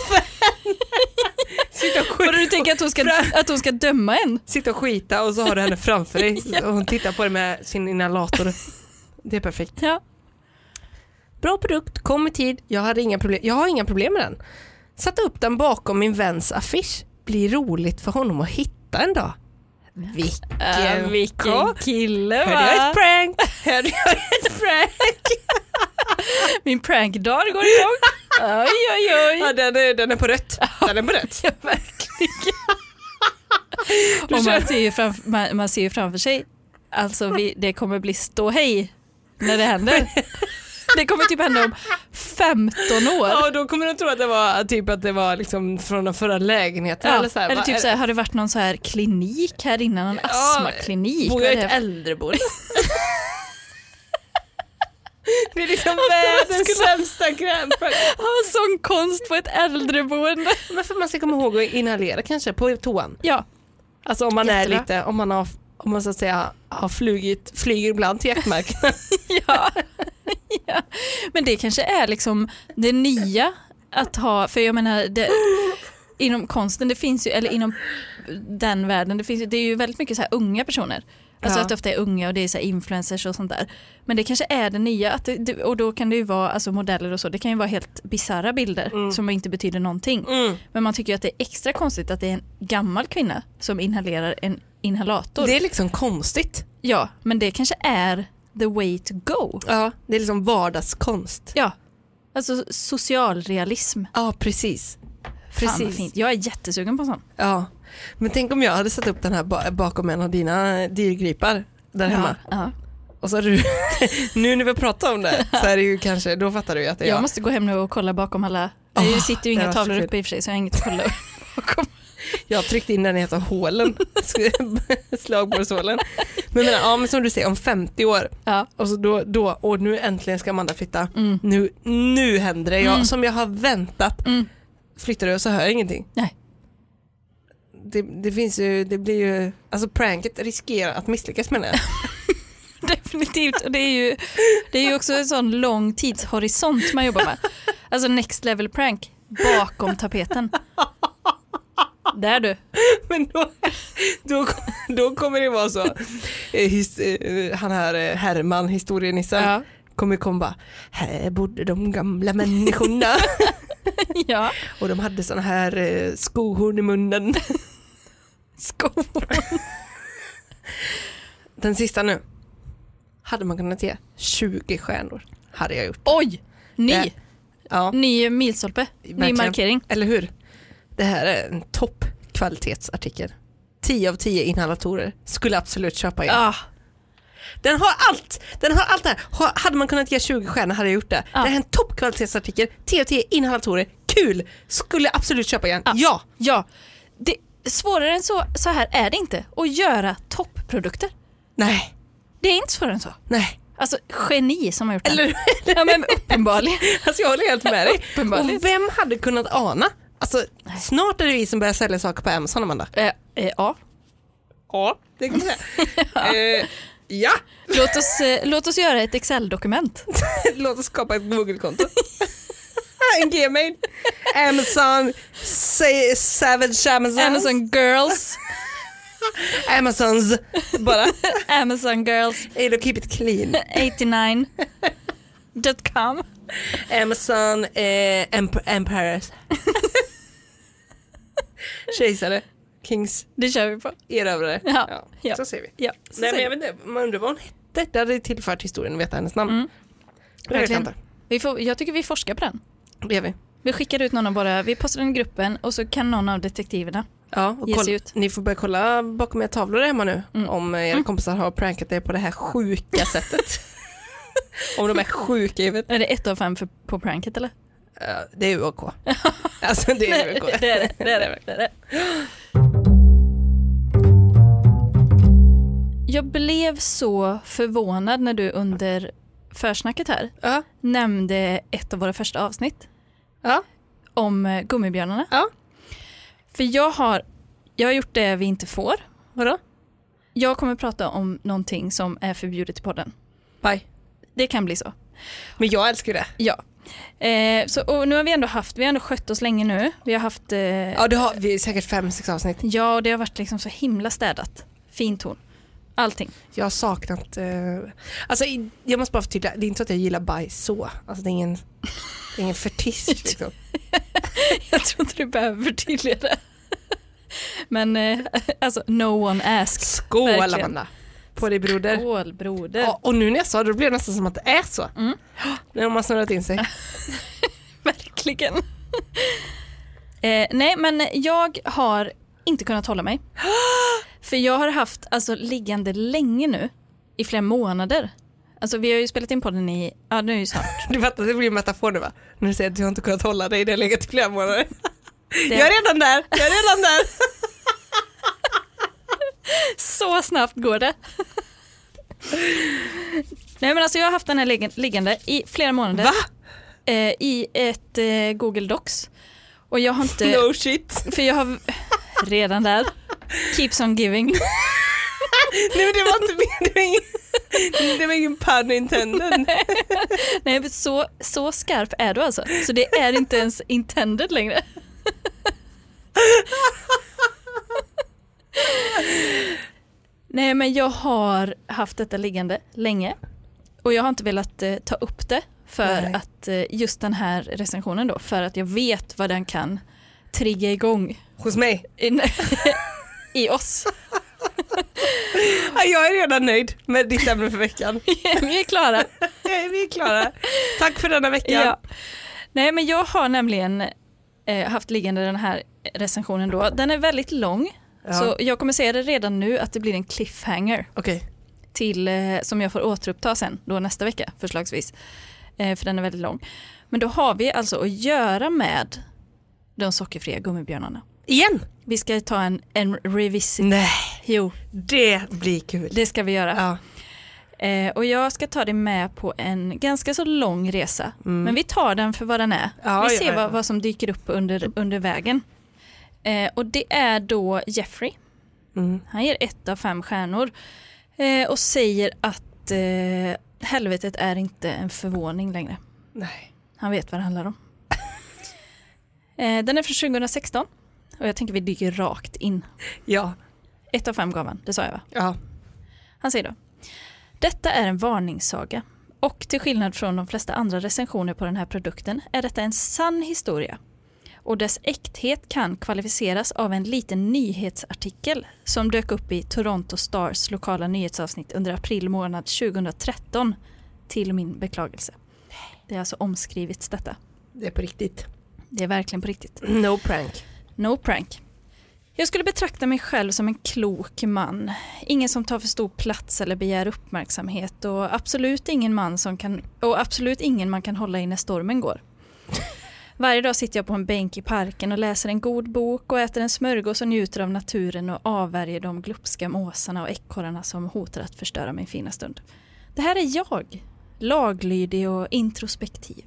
B: Sitta och,
A: Och du
B: skita,
A: tänker att hon, ska, att hon ska döma en?
B: sitta och skita och så har du henne framför dig och hon tittar på dig med sin inhalator. Det är perfekt.
A: Ja.
B: Bra produkt, kom i tid, jag, hade inga problem. jag har inga problem med den. Satte upp den bakom min väns affisch. Blir roligt för honom att hitta en dag. Vilken
A: Äh, vilken
B: kock.
A: kille
B: Hörde jag
A: va?
B: ett prank? Hörde jag ett prank?
A: Min prankdag går igång. Oj oj oj.
B: Ja, den, är, den är på rött. Den är på rött.
A: Ja, verkligen.
B: Du
A: Och
B: kör-
A: man, ser ju framför, man, man ser ju framför sig, alltså vi, det kommer bli ståhej när det händer. Det kommer typ hända om 15 år.
B: Ja, och då kommer de tro att det var, typ, att det var liksom från den förra lägenheten.
A: Ja,
B: eller så här,
A: eller
B: va?
A: typ så här, har det varit någon så här klinik här innan, någon
B: Ja,
A: astmaklinik?
B: Bor
A: Vad är
B: jag i
A: det
B: ett
A: för-
B: äldreboende? det är liksom världens
A: skulle-
B: sämsta krämpor.
A: Har sån konst på ett äldreboende.
B: Men för man ska komma ihåg att inhalera kanske på toan.
A: Ja,
B: Alltså om man är
A: Jättebra.
B: lite, om man har om man så att säga har flugit, flyger ibland till jaktmarken.
A: ja. ja. Men det kanske är liksom det nya att ha, för jag menar det, inom konsten, det finns ju, eller inom den världen, det, finns ju, det är ju väldigt mycket så här unga personer. Alltså
B: Ja.
A: att det ofta är unga och det är så här influencers och sånt där. Men det kanske är det nya, att det- det, och då kan det ju vara alltså modeller och så, det kan ju vara helt bisarra bilder
B: Mm.
A: som inte betyder någonting. Men man tycker ju att det är extra konstigt att det är en gammal kvinna som inhalerar en inhalator.
B: Det är liksom konstigt.
A: Ja, men det kanske är the way to go.
B: Ja. Det är liksom vardagskonst.
A: Ja, alltså socialrealism.
B: Ja, precis.
A: Fan vad fint. Jag är jättesugen på en sån.
B: Ja. Men tänk om jag hade satt upp den här ba- bakom en av dina dyrgripar där hemma.
A: Ja.
B: Och så hade du, nu när vi pratar om det så är det ju kanske, då fattar du ju att det är
A: Jag
B: jag.
A: måste gå hem nu och kolla bakom alla. det
B: Åh,
A: sitter ju
B: det var
A: inga
B: så
A: tavlor
B: kul.
A: uppe i och för sig så jag har inget att kolla upp bakom.
B: Jag tryckte in den i ett av hålen, slagborrshålen. Men, men, ja, men som du säger, om 50 år,
A: Ja.
B: och så då, då och nu äntligen ska Amanda flytta. Nu, nu händer det, jag, som jag har väntat.
A: Mm.
B: Flyttar du och så hör jag ingenting.
A: Nej.
B: Det, det finns ju, det blir ju, alltså pranket riskerar att misslyckas menar jag.
A: Definitivt, och det är, ju, det är ju också en sån lång tidshorisont man jobbar med. Alltså next level prank, bakom tapeten. Där du.
B: Men då, då, då kommer det vara så. Eh, His, eh, han här eh, Herman, historienissen,
A: Ja.
B: kommer komma bara, här bodde de gamla människorna.
A: Ja.
B: Och de hade såna här eh, skohorn i munnen.
A: Skor.
B: Den sista nu. Hade man kunnat ge 20 stjärnor hade jag gjort.
A: Oj! Ny,
B: Det- Ja,
A: ny milstolpe, ny
B: Verkligen.
A: markering.
B: eller hur? Det här är en toppkvalitetsartikel. 10 av 10 inhalatorer skulle absolut köpa igen.
A: Ah,
B: Den har allt! Den har allt det här. Ha- Hade man kunnat ge 20 stjärnor hade jag gjort det.
A: Ja.
B: Det här är en toppkvalitetsartikel. 10 av 10 inhalatorer. Kul! Skulle absolut köpa igen.
A: Ja.
B: Ja!
A: Ja, det, svårare än så, så här är det inte att göra toppprodukter.
B: Nej,
A: Det är inte svårare än så.
B: nej.
A: Alltså geni som har gjort
B: Eller
A: det. Ja men uppenbarligen.
B: Alltså jag håller helt med dig.
A: Uppenbarligen.
B: Och vem hade kunnat ana? Alltså snart är det vi som börjar sälja saker på Amazon Amanda.
A: Eh, eh, ja.
B: Ja, det kan man säga. Eh, ja,
A: Låt oss, eh, låt oss göra ett Excel-dokument.
B: låt oss skapa ett Google-konto. en gmail. Amazon, say, Savage Amazons.
A: Amazon girls,
B: Amazons. Bara.
A: Amazon girls
B: Hey, då, keep it clean.
A: 89.com.
B: Amazon eh, emp- Empires. Kejsare. Kings.
A: Det kör vi på.
B: Erövrare.
A: Ja, ja.
B: Så ser vi.
A: Ja, så
B: Nej, men
A: säger
B: jag vet inte, man undrar vad hon hette. Det hade tillfört historien att veta hennes namn. Det vet jag
A: Verkligen.
B: inte.
A: vi får, jag tycker vi forskar på den.
B: Det gör vi.
A: Vi skickar ut någon av våra, vi postar den i gruppen och så kan någon av detektiverna.
B: Ja, och
A: Ge sig
B: kolla, Mm.
A: ut.
B: ni får börja kolla bakom era tavlor hemma nu om era kompisar har prankat er på det här sjuka sättet. om de är sjuka i huvudet.
A: Är det ett av fem för, på pranket eller?
B: Eh, Det är UAK. Alltså det är
A: Nej,
B: UAK.
A: det är det, det är det, det är det. Jag blev så förvånad när du under försnacket här
B: Ja,
A: nämnde ett av våra första avsnitt
B: ja,
A: om eh, gummibjörnarna.
B: ja.
A: För jag har, jag har gjort det vi inte får.
B: Vadå?
A: Jag kommer prata om någonting som är förbjudet i podden.
B: Bye.
A: Det kan bli så.
B: Men jag älskar ju det.
A: Ja. Eh, så, och nu har vi ändå haft, vi har ändå skött oss länge nu. Vi har haft eh,
B: Ja, det har vi är säkert fem, sex avsnitt.
A: Ja, och det har varit liksom så himla städat. Fint hon. Allting.
B: Jag har saknat... Eh, alltså, i- jag måste bara förtydliga, det är inte så att jag gillar bajs så. Alltså, det är ingen, det är ingen fetisch liksom.
A: Jag tror inte du behöver förtydliga det. Men eh, alltså, no one asks.
B: Skål
A: Verkligen.
B: Amanda! På dig broder.
A: Skål broder.
B: Ja, och nu när jag sa det, då blev det nästan som att det är så.
A: Mm.
B: Nu har man snurrat in sig.
A: Verkligen. eh, nej, men jag har inte kunnat hålla mig. För jag har haft alltså liggande länge nu, i flera månader, Alltså vi har ju spelat in podden i, ja nu är ju snart.
B: Du fattar, det blir en metafor nu va? När du säger att du har inte kunnat hålla dig i det har legat i flera månader.
A: Det-
B: Jag är redan där, jag är redan där.
A: Så snabbt går det. Nej men alltså jag har haft den här liggen- liggande i flera månader.
B: Va?
A: Eh, I ett eh, Google Docs. Och jag har inte,
B: No shit.
A: för jag har redan där. Keeps on giving.
B: Nej men det var inte min, det var ingen, det var ingen pun intended.
A: Nej men så, så skarp är du alltså. Så det är inte ens intended längre. Nej men jag har haft detta liggande länge och jag har inte velat eh, ta upp det för
B: Nej.
A: att eh, just den här recensionen då för att jag vet vad den kan trigga igång
B: Hos mig.
A: i, i oss.
B: Ja, jag är redan nöjd med ditt ämne för veckan.
A: Vi är klara.
B: Nej, Vi är klara. Tack för denna vecka.
A: Ja. Nej men jag har nämligen eh, haft liggande den här recensionen då. Den är väldigt lång
B: Ja.
A: så jag kommer säga det redan nu att det blir en cliffhanger
B: Okej.
A: till, eh, som jag får återuppta sen då nästa vecka förslagsvis. Eh, för den är väldigt lång. Men då har vi alltså att göra med de sockerfria gummibjörnarna.
B: Igen?
A: Vi ska ta en, en revisit.
B: Nej.
A: Jo,
B: Det blir kul.
A: det ska vi göra.
B: Ja.
A: Eh, och jag ska ta dig med på en ganska så lång resa. Men vi tar den för vad den är.
B: Mm. Ja,
A: vi
B: ja,
A: ser
B: ja.
A: Vad, vad som dyker upp under, under vägen. Eh, och det är då Jeffrey.
B: Mm.
A: Han ger ett av fem stjärnor. Eh, och säger att eh, helvetet är inte en förvåning längre.
B: Nej.
A: Han vet vad det handlar om. eh, den är från 2016. Och jag tänker vi dyker rakt in.
B: Ja.
A: Ett av fem gav han, det sa jag va?
B: Ja.
A: Han säger då. Detta är en varningssaga. Och till skillnad från de flesta andra recensioner på den här produkten är detta en sann historia. Och dess äkthet kan kvalificeras av en liten nyhetsartikel som dök upp i Toronto Stars lokala nyhetsavsnitt under april månad 2013 till min beklagelse. Det har alltså omskrivits detta.
B: Det är på riktigt.
A: Det är verkligen på riktigt.
B: No prank.
A: No prank. Jag skulle betrakta mig själv som en klok man. Ingen som tar för stor plats eller begär uppmärksamhet och absolut ingen man som kan, och absolut ingen man kan hålla i när stormen går. Varje dag sitter jag på en bänk i parken och läser en god bok och äter en smörgås och njuter av naturen och avvärjer de glupska måsarna och ekorrarna som hotar att förstöra min fina stund. Det här är jag, laglydig och introspektiv.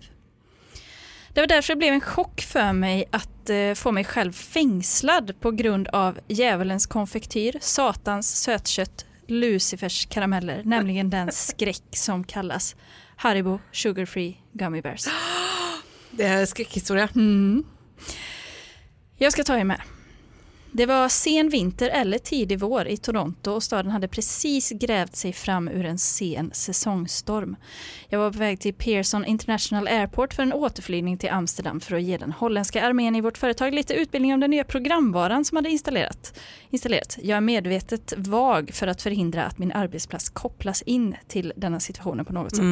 A: Det var därför det blev en chock för mig att eh, få mig själv fängslad på grund av djävulens konfektyr, satans sötkött, Lucifers karameller, nämligen den skräck som kallas Haribo Sugar Free Gummy Bears.
B: Det är en skräckhistoria.
A: Mm. Jag ska ta er med. Det var sen vinter eller tidig vår i Toronto och staden hade precis grävt sig fram ur en sen säsongstorm. Jag var på väg till Pearson International Airport för en återflygning till Amsterdam för att ge den holländska armén i vårt företag lite utbildning om den nya programvaran som hade installerat. installerat. Jag är medvetet vag för att förhindra att min arbetsplats kopplas in till denna situationen på något sätt.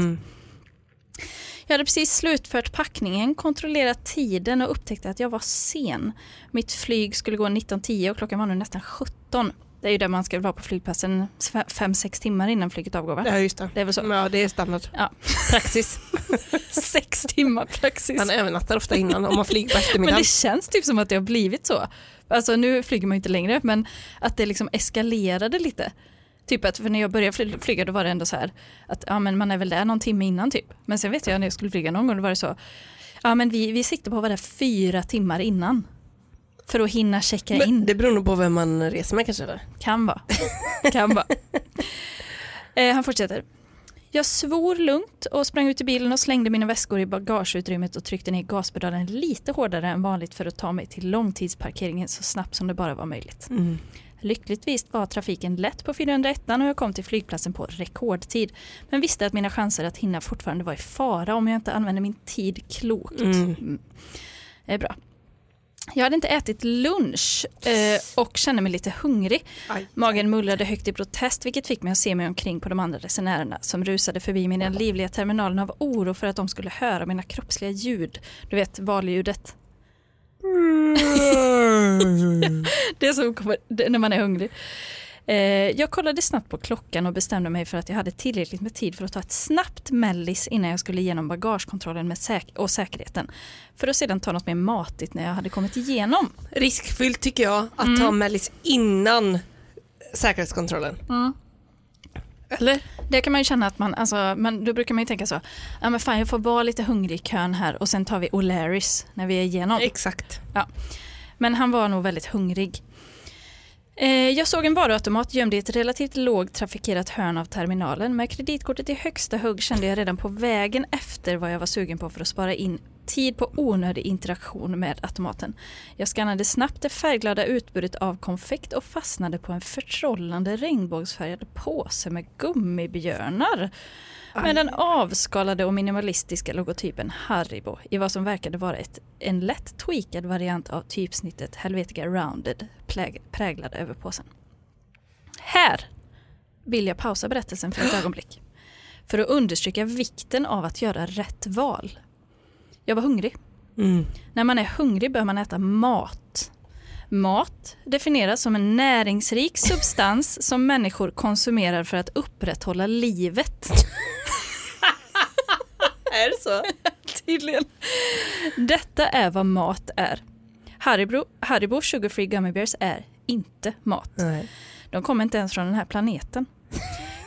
A: Jag hade precis slutfört packningen, kontrollerat tiden och upptäckte att jag var sen. Mitt flyg skulle gå 19.10 och klockan var nu nästan 17. Det är ju där man ska vara på flygplatsen 5-6 timmar innan flyget avgår va?
B: Ja, just det.
A: Det är väl så.
B: Ja, det är standard.
A: Ja,
B: Praxis.
A: 6 timmar praxis.
B: Man övernattar ofta innan om man flyger på
A: Men
B: eftermiddagen.
A: det känns typ som att det har blivit så. Alltså nu flyger man ju inte längre men att det liksom eskalerade lite. Typ att för när jag började fly- flyga då var det ändå så här att ja men man är väl där någon timme innan typ. Men sen vet jag när jag skulle flyga någon gång då var det så. Ja men vi, vi siktar på att vara där fyra timmar innan. För att hinna checka in.
B: det beror nog på vem man reser med kanske. Eller?
A: Kan vara. Kan vara. Eh, han fortsätter. Jag svor lugnt och sprang ut i bilen och slängde mina väskor i bagageutrymmet och tryckte ner gaspedalen lite hårdare än vanligt för att ta mig till långtidsparkeringen så snabbt som det bara var möjligt. Lyckligtvis var trafiken lätt på 401 och jag kom till flygplatsen på rekordtid men visste att mina chanser att hinna fortfarande var i fara om jag inte använde min tid klokt. Mm. Det är bra. Jag hade inte ätit lunch eh, och kände mig lite hungrig.
B: Aj.
A: Magen mullrade högt i protest vilket fick mig att se mig omkring på de andra resenärerna som rusade förbi mig i den livliga terminalen av oro för att de skulle höra mina kroppsliga ljud. Du vet valljudet. Det som kommer det- när man är hungrig. Eh, jag kollade snabbt på klockan och bestämde mig för att jag hade tillräckligt med tid för att ta ett snabbt mellis innan jag skulle igenom bagagekontrollen med säk- och säkerheten. För att sedan ta något mer matigt när jag hade kommit igenom.
B: Riskfyllt tycker jag att
A: Mm.
B: ta mellis innan säkerhetskontrollen. Eller?
A: Det kan man ju känna att man, alltså, men då brukar man ju tänka så, ja men fan jag får vara lite hungrig i kön här och sen tar vi O'Larys när vi är igenom.
B: Exakt.
A: Men han var nog väldigt hungrig. Eh, Jag såg en varuautomat gömd i ett relativt lågt trafikerat hörn av terminalen. Med kreditkortet i högsta hugg kände jag redan på vägen efter vad jag var sugen på för att spara in tid på onödig interaktion med automaten. Jag skannade snabbt det färgglada utbudet av konfekt och fastnade på en förtrollande regnbågsfärgad påse med gummibjörnar. Med den avskalade och minimalistiska logotypen Haribo i vad som verkade vara ett, en lätt tweakad variant av typsnittet Helvetica Rounded pläg, präglad över påsen. Här vill jag pausa berättelsen för ett ögonblick för att understryka vikten av att göra rätt val. Jag var hungrig. När man är hungrig bör man äta mat. Mat definieras som en näringsrik substans som människor konsumerar för att upprätthålla livet.
B: Är det så?
A: Tydligen. Detta är vad mat är. Haribo, Haribo Sugar Free Gummy Bears är inte mat.
B: Nej.
A: De kommer inte ens från den här planeten.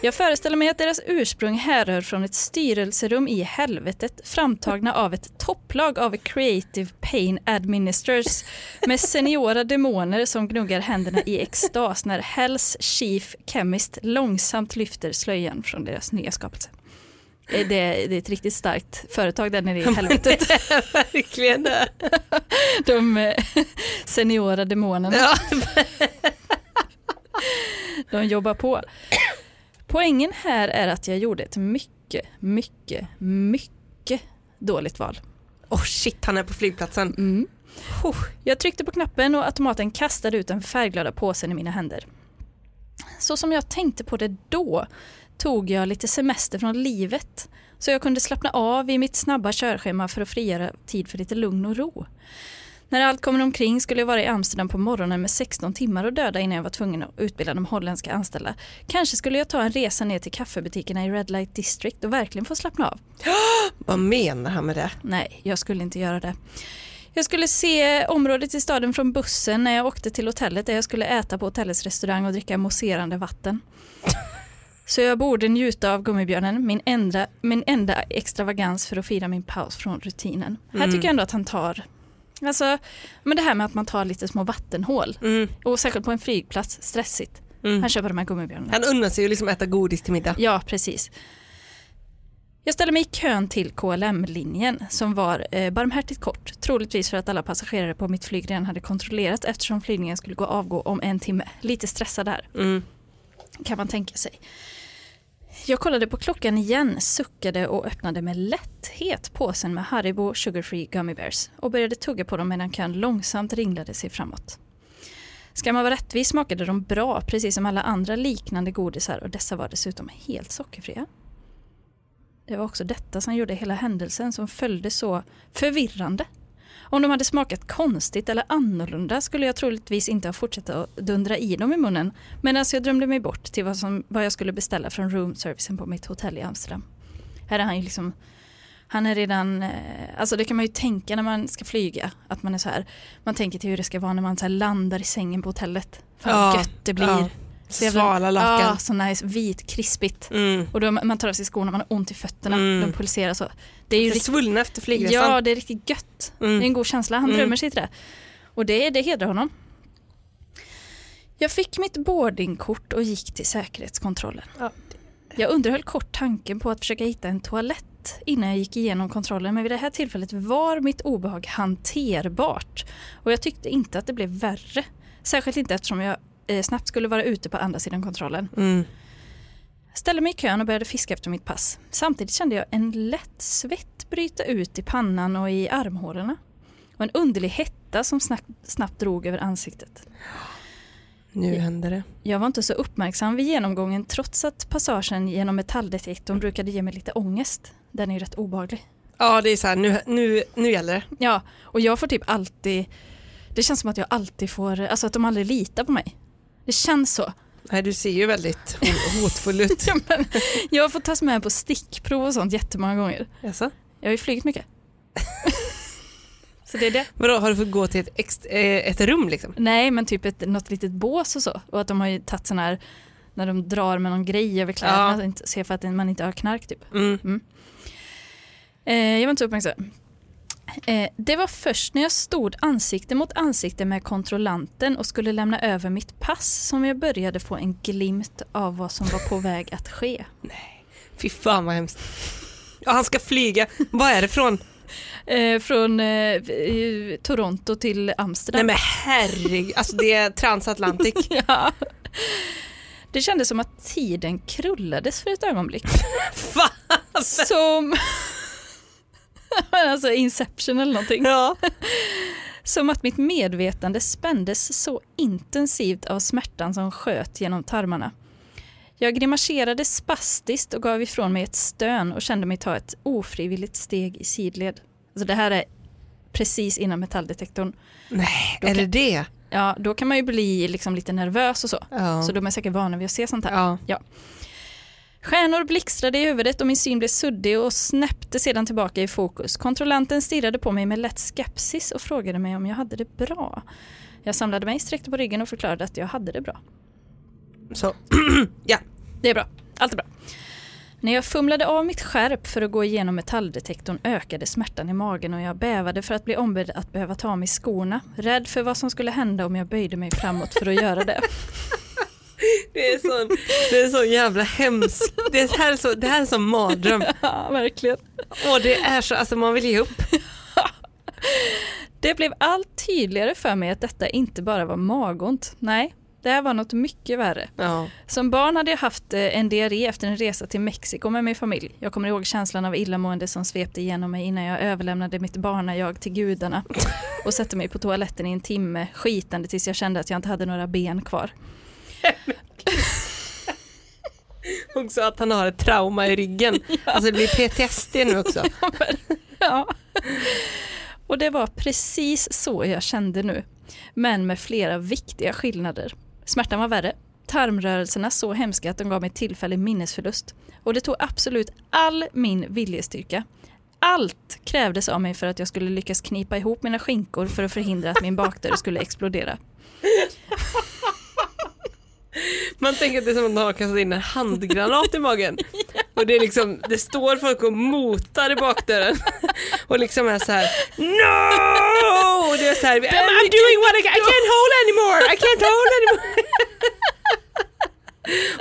A: Jag föreställer mig att deras ursprung härrör från ett styrelserum i helvetet framtagna av ett topplag av creative pain administrators med seniora demoner som gnuggar händerna i extas när Hells Chief Chemist långsamt lyfter slöjan från deras nya skapelse. Eh, Det är, det är ett riktigt starkt företag där nere i helvetet.
B: Verkligen det.
A: De eh, seniora demonerna.
B: Ja.
A: De jobbar på. Poängen här är att jag gjorde ett mycket, mycket, mycket dåligt val.
B: Oh shit, han är på flygplatsen. Oh,
A: Mm. Jag tryckte på knappen och automaten kastade ut den färgglada påsen i mina händer. Så som jag tänkte på det då tog jag lite semester från livet så jag kunde slappna av i mitt snabba körschema för att frigöra tid för lite lugn och ro. När allt kommer omkring skulle jag vara i Amsterdam på morgonen med 16 timmar att döda innan jag var tvungen att utbilda de holländska anställda. Kanske skulle jag ta en resa ner till kaffebutikerna i Red Light District och verkligen få slappna av.
B: vad menar han med det?
A: Nej, jag skulle inte göra det. Jag skulle se området i staden från bussen när jag åkte till hotellet där jag skulle äta på hotellets restaurang och dricka mousserande vatten. Så jag borde njuta av gummibjörnen, min enda, min enda extravagans för att fira min paus från rutinen. Här tycker jag ändå att han tar, alltså, men det här med att man tar lite små vattenhål. Och särskilt på en flygplats, stressigt. Han köper de här gummibjörnarna.
B: Han unnar sig ju liksom äta godis till middag.
A: Ja, precis. Jag ställde mig i kön till KLM-linjen som var eh, barmhärtigt kort, troligtvis för att alla passagerare på mitt flyg redan hade kontrollerat eftersom flygningen skulle gå och avgå om en timme. Lite stressad där,
B: Mm.
A: kan man tänka sig. Jag kollade på klockan igen, suckade och öppnade med lätthet påsen med Haribo Sugar Free Gummy Bears och började tugga på dem medan kön långsamt ringlade sig framåt. Ska man vara rättvis smakade de bra, precis som alla andra liknande godisar och dessa var dessutom helt sockerfria. Det var också detta som gjorde hela händelsen som följde så förvirrande. Om de hade smakat konstigt eller annorlunda skulle jag troligtvis inte ha fortsatt att dundra i dem i munnen medan jag drömde mig bort till vad, som, vad jag skulle beställa från roomservicen på mitt hotell i Amsterdam. Här är han ju liksom han är redan, eh, alltså det kan man ju tänka när man ska flyga, att man är så här, man tänker till hur det ska vara när man så här landar i sängen på hotellet. Fan vad
B: Ja,
A: gött det blir.
B: ja.
A: Så jävla-
B: Svala lakan.
A: Ja, så nice, vit, krispigt.
B: Mm.
A: Och då man tar av sig skorna, man har ont i fötterna,
B: Mm.
A: de pulserar så. Det är ju
B: Det är
A: riktigt,
B: svullna efter flygresan.
A: ja, det är riktigt gött.
B: Mm.
A: Det är en god känsla, han drömmer sig till det. Och det, det hedrar honom. Jag fick mitt boardingkort och gick till säkerhetskontrollen.
B: Ja.
A: Jag underhöll kort tanken på att försöka hitta en toalett innan jag gick igenom kontrollen men vid det här tillfället var mitt obehag hanterbart och jag tyckte inte att det blev värre. Särskilt inte eftersom jag eh, snabbt skulle vara ute på andra sidan kontrollen.
B: Mm.
A: Ställde mig i kön och började fiska efter mitt pass. Samtidigt kände jag en lätt svett bryta ut i pannan och i armhålorna. Och en underlig hetta som snack- snabbt drog över ansiktet.
B: Nu händer det.
A: Jag var inte så uppmärksam vid genomgången trots att passagen genom metalldetektorn brukade ge mig lite ångest. Den är ju rätt obehaglig.
B: Ja, det är så här, nu, nu, nu gäller det.
A: Ja, och jag får typ alltid... Det känns som att jag alltid får... Alltså att de aldrig litar på mig. Det känns så.
B: Nej, du ser ju väldigt ho- hotfull ut.
A: Ja, men jag har fått tas med på stickprov och sånt jättemånga gånger.
B: Jaså?
A: Jag har ju flugit mycket. så det är det.
B: Vadå, har du fått gå till ett, ex- eh, ett rum liksom?
A: Nej, men typ ett, något litet bås och så. Och att de har ju tagit sån här, när de drar med någon grej över
B: Ja.
A: kläderna, så inte- ser för att man inte har knark typ.
B: Mm.
A: Eh, jag var inte så uppmärksam. Eh, det var först när jag stod ansikte mot ansikte med kontrollanten och skulle lämna över mitt pass som jag började få en glimt av vad som var på väg att ske.
B: Fy fan vad hemskt. Ja, han ska flyga. Var är det från?
A: Eh, från eh, eh, Toronto till Amsterdam.
B: Nej men herregud, alltså det är transatlantik.
A: Ja. Det kändes som att tiden krullades för ett ögonblick.
B: Va?
A: som... Men alltså Inception eller någonting.
B: Ja.
A: Som att mitt medvetande spändes så intensivt av smärtan som sköt genom tarmarna. Jag grimaserade spastiskt och gav ifrån mig ett stön och kände mig ta ett ofrivilligt steg i sidled. Alltså det här är precis innan metalldetektorn.
B: Nej, är det det?
A: Ja, då kan man ju bli liksom lite nervös och så.
B: Ja.
A: Så de är säkert vana vid att se sånt här.
B: ja.
A: Stjärnor blixtrade i huvudet och min syn blev suddig och snäppte sedan tillbaka i fokus. Kontrollanten stirrade på mig med lätt skepsis och frågade mig om jag hade det bra. Jag samlade mig, sträckte på ryggen och förklarade att jag hade det bra.
B: Så, ja.
A: Det är bra. Allt är bra. När jag fumlade av mitt skärp för att gå igenom metalldetektorn ökade smärtan i magen och jag bävade för att bli ombedd att behöva ta av mig skorna. Rädd för vad som skulle hända om jag böjde mig framåt för att göra det.
B: Det är sån, det är sån jävla hemsk, det här är så, det här är sån mardröm.
A: Ja, verkligen.
B: Och det är så, alltså man vill ge upp.
A: Det blev allt tydligare för mig att detta inte bara var magont. Nej, det här var något mycket värre.
B: Ja.
A: Som barn hade jag haft eh, en diarré efter en resa till Mexiko med min familj. Jag kommer ihåg känslan av illamående som svepte igenom mig innan jag överlämnade mitt barnajag till gudarna och satte mig på toaletten i en timme skitande tills jag kände att jag inte hade några ben kvar.
B: Också att han har ett trauma i ryggen. Alltså det blir PTSD nu också.
A: Ja. Och det var precis så jag kände nu. Men med flera viktiga skillnader. Smärtan var värre. Tarmrörelserna så hemska att de gav mig tillfällig minnesförlust. Och det tog absolut all min viljestyrka. Allt krävdes av mig för att jag skulle lyckas knipa ihop mina skinkor för att förhindra att min bakdörr skulle explodera.
B: Man tänker att det är som att man har kastat in en handgranat i magen. Och det är liksom, det står folk och motar i bakdörren. Och liksom är så här NO! Och det är så här, I'm, I'm doing what I can, I can't hold anymore, I can't hold anymore.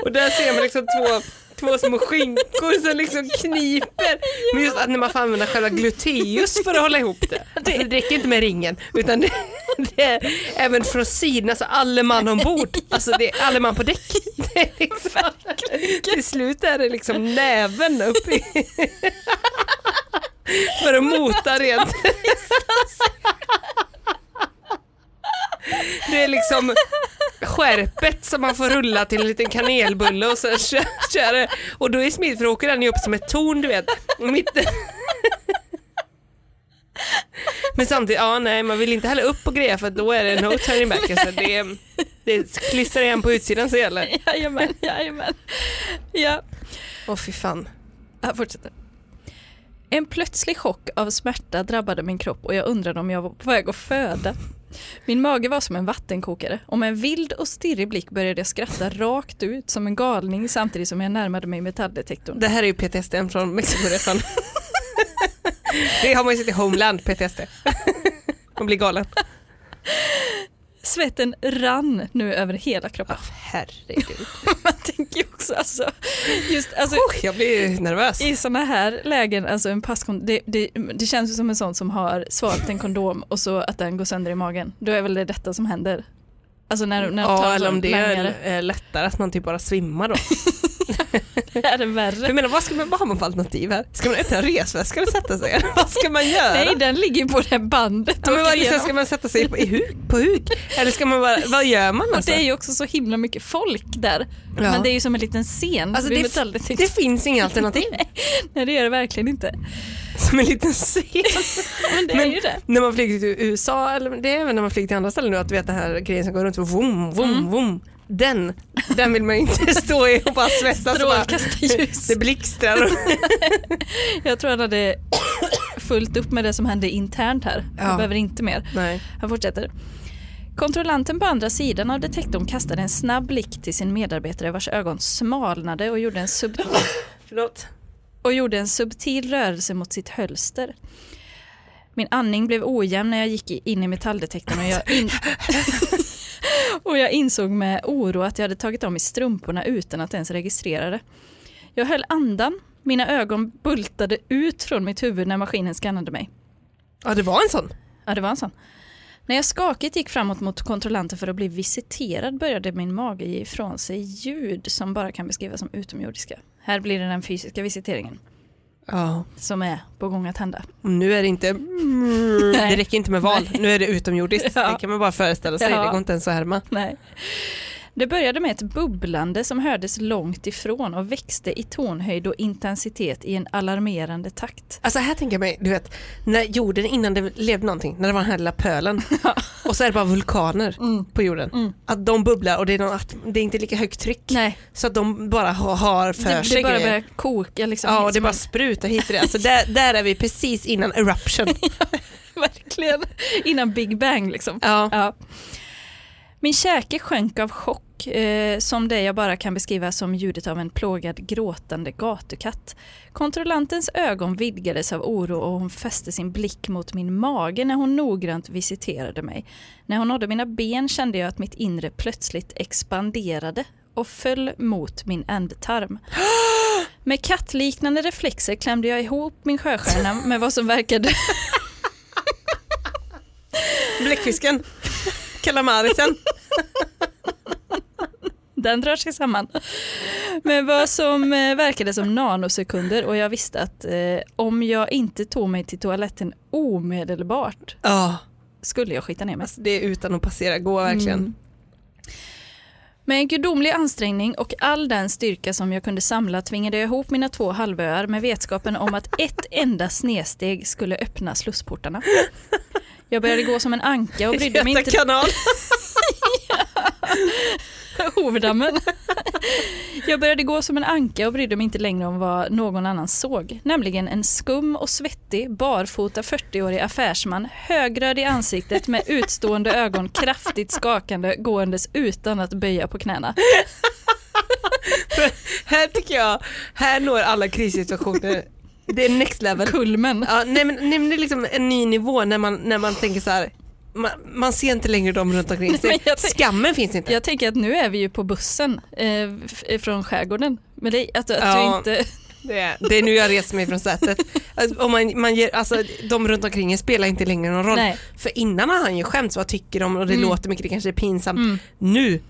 B: Och där ser man liksom två, två små skinkor som liksom kniper. Men just att när man får använda själva gluteus för att hålla ihop det. Alltså det räcker inte med ringen, utan det, det är även från sidan, alltså alle man ombord. Alltså det är alle man på däck. Det är liksom, till slut är det liksom näven upp i... För att mota rent. Det är liksom skärpet som man får rulla till en liten kanelbulle och sen kö- kör det. Och då är smidigt för då åker den ju upp som ett torn du vet. Mitt... Men samtidigt, ja nej man vill inte heller upp och grejer för då är det no turning back. Alltså, det, det klistrar igen på utsidan så gäller.
A: Jajamän, jajamän. Ja.
B: Åh fy fan.
A: Jag fortsätter. En plötslig chock av smärta drabbade min kropp och jag undrade om jag var på väg att föda. Min mage var som en vattenkokare och med en vild och stirrig blick började jag skratta rakt ut som en galning samtidigt som jag närmade mig metalldetektorn.
B: Det här är ju PTSD från Mexikoresan. Det har man ju sett i Homeland, PTSD. Man blir galen.
A: Svetten rann nu över hela kroppen.
B: Herregud.
A: Man tänker ju också alltså, just alltså,
B: Jag blir nervös.
A: i sådana här lägen, alltså en passkondom, det, det, det känns ju som en sån som har svalt en kondom och så att den går sönder i magen. Då är väl det detta som händer. Alltså när, när de tar
B: Ja,
A: en
B: eller
A: sån
B: om det
A: langare.
B: är är lättare att man typ bara svimmar då. För
A: Är det värre?
B: jag menar, vad, ska man, vad har man för alternativ här? Ska man öppna resväskan och sätta sig? Eller vad ska man göra?
A: Nej, den ligger ju på det här bandet.
B: ja, men
A: och,
B: vad,
A: åker
B: liksom,
A: igenom.
B: ska man sätta sig på, i huk, på huk? Eller ska man bara, vad gör man
A: och
B: alltså?
A: det är ju också så himla mycket folk där.
B: Ja.
A: Men det är ju som en liten scen.
B: Alltså,
A: vid
B: det-
A: metalldetektorn.
B: Det finns inga alternativ.
A: Nej, det gör det verkligen inte.
B: Som en liten scen.
A: Men det är
B: Men
A: ju det.
B: när
A: Mm.
B: man flyger till USA, eller det är även när man flyger till andra ställen nu, att du vet den här grejen som går runt och vom, vom, vom. Den, den vill man ju inte stå i och bara svettas. och bara-
A: Strålkastarljus.
B: Det blixtrar. och-
A: Jag tror han hade fullt upp med det som hände internt här. Han
B: Ja.
A: behöver inte mer.
B: Nej.
A: Han fortsätter. Kontrollanten på andra sidan av detektorn kastade en snabb blick till sin medarbetare vars ögon smalnade och gjorde en, sub-
B: Förlåt.
A: och gjorde en subtil rörelse mot sitt hölster. Min andning blev ojämn när jag gick i- in i metalldetektorn och jag, in- och jag insåg med oro att jag hade tagit av mig strumporna utan att ens registrera det. Jag höll andan, mina ögon bultade ut från mitt huvud när maskinen skannade mig.
B: Ja det var en sån.
A: Ja, det var en sån. När jag skakigt gick framåt mot kontrollanten för att bli visiterad började min mage ge ifrån sig ljud som bara kan beskrivas som utomjordiska. Här blir det den fysiska visiteringen
B: Ja.
A: som är på gång att hända.
B: Nu är det inte, det räcker inte med val, nu är det utomjordiskt.
A: Ja.
B: Det kan man bara föreställa sig,
A: Ja.
B: det går inte ens att härma.
A: Nej. Det började med ett bubblande som hördes långt ifrån och växte i tonhöjd och intensitet i en alarmerande takt.
B: Alltså här tänker jag mig, du vet, när jorden innan det levde någonting, när det var den här lilla pölen och så är det bara vulkaner
A: Mm.
B: på jorden. Att de bubblar och det är, någon, att det är inte lika högt tryck.
A: Nej,
B: Så att de bara har, har för
A: det, det
B: sig
A: bara
B: grejer.
A: började koka liksom.
B: Ja, och det
A: Som
B: bara
A: en-
B: sprutar hit och det. Alltså där, där är vi precis innan eruption.
A: Verkligen. Innan Big Bang liksom.
B: Ja.
A: Ja. Min käke sjönk av chock, eh, som det jag bara kan beskriva som ljudet av en plågad gråtande gatukatt. Kontrollantens ögon vidgades av oro och hon fäste sin blick mot min mage när hon noggrant visiterade mig. När hon nådde mina ben kände jag att mitt inre plötsligt expanderade och föll mot min ändtarm. Med kattliknande reflexer klämde jag ihop min sjöstjärna med vad som verkade
B: Bläckfisken, kalamarisen.
A: Den drar sig samman. Men vad som eh, verkade som nanosekunder och jag visste att eh, om jag inte tog mig till toaletten omedelbart
B: Ja,
A: skulle jag skita ner mig.
B: alltså det är utan att passera gå
A: Mm.
B: verkligen.
A: Med en gudomlig ansträngning och all den styrka som jag kunde samla tvingade jag ihop mina två halvöar med vetskapen om att ett enda snedsteg skulle öppna slussportarna. Jag började gå som en anka och brydde mig
B: Göta
A: inte
B: kanal.
A: Hovdammen. Jag började gå som en anka och brydde mig inte längre om vad någon annan såg. Nämligen en skum och svettig, barfota 40-årig affärsman, högröd i ansiktet med utstående ögon, kraftigt skakande, gåendes utan att böja på knäna.
B: Här tycker jag, här når alla krissituationer. Det är next level.
A: Kulmen.
B: Ja, nej, men, nej, men det är liksom en ny nivå när man, när man tänker så här. Man, man ser inte längre dem runt omkring sig.
A: men jag tänk-
B: Skammen finns inte.
A: Jag tänker att nu är vi ju på bussen eh, f- från skärgården. Men det, att, att
B: Ja.
A: du inte...
B: Det, är, det är nu jag reser mig från sätet. Alltså, om man, man ger, alltså, de runt omkring en spelar inte längre någon roll.
A: Nej. Mm.
B: För innan har han ju skämts, vad tycker de och det låter mycket, det kanske är pinsamt. Nu,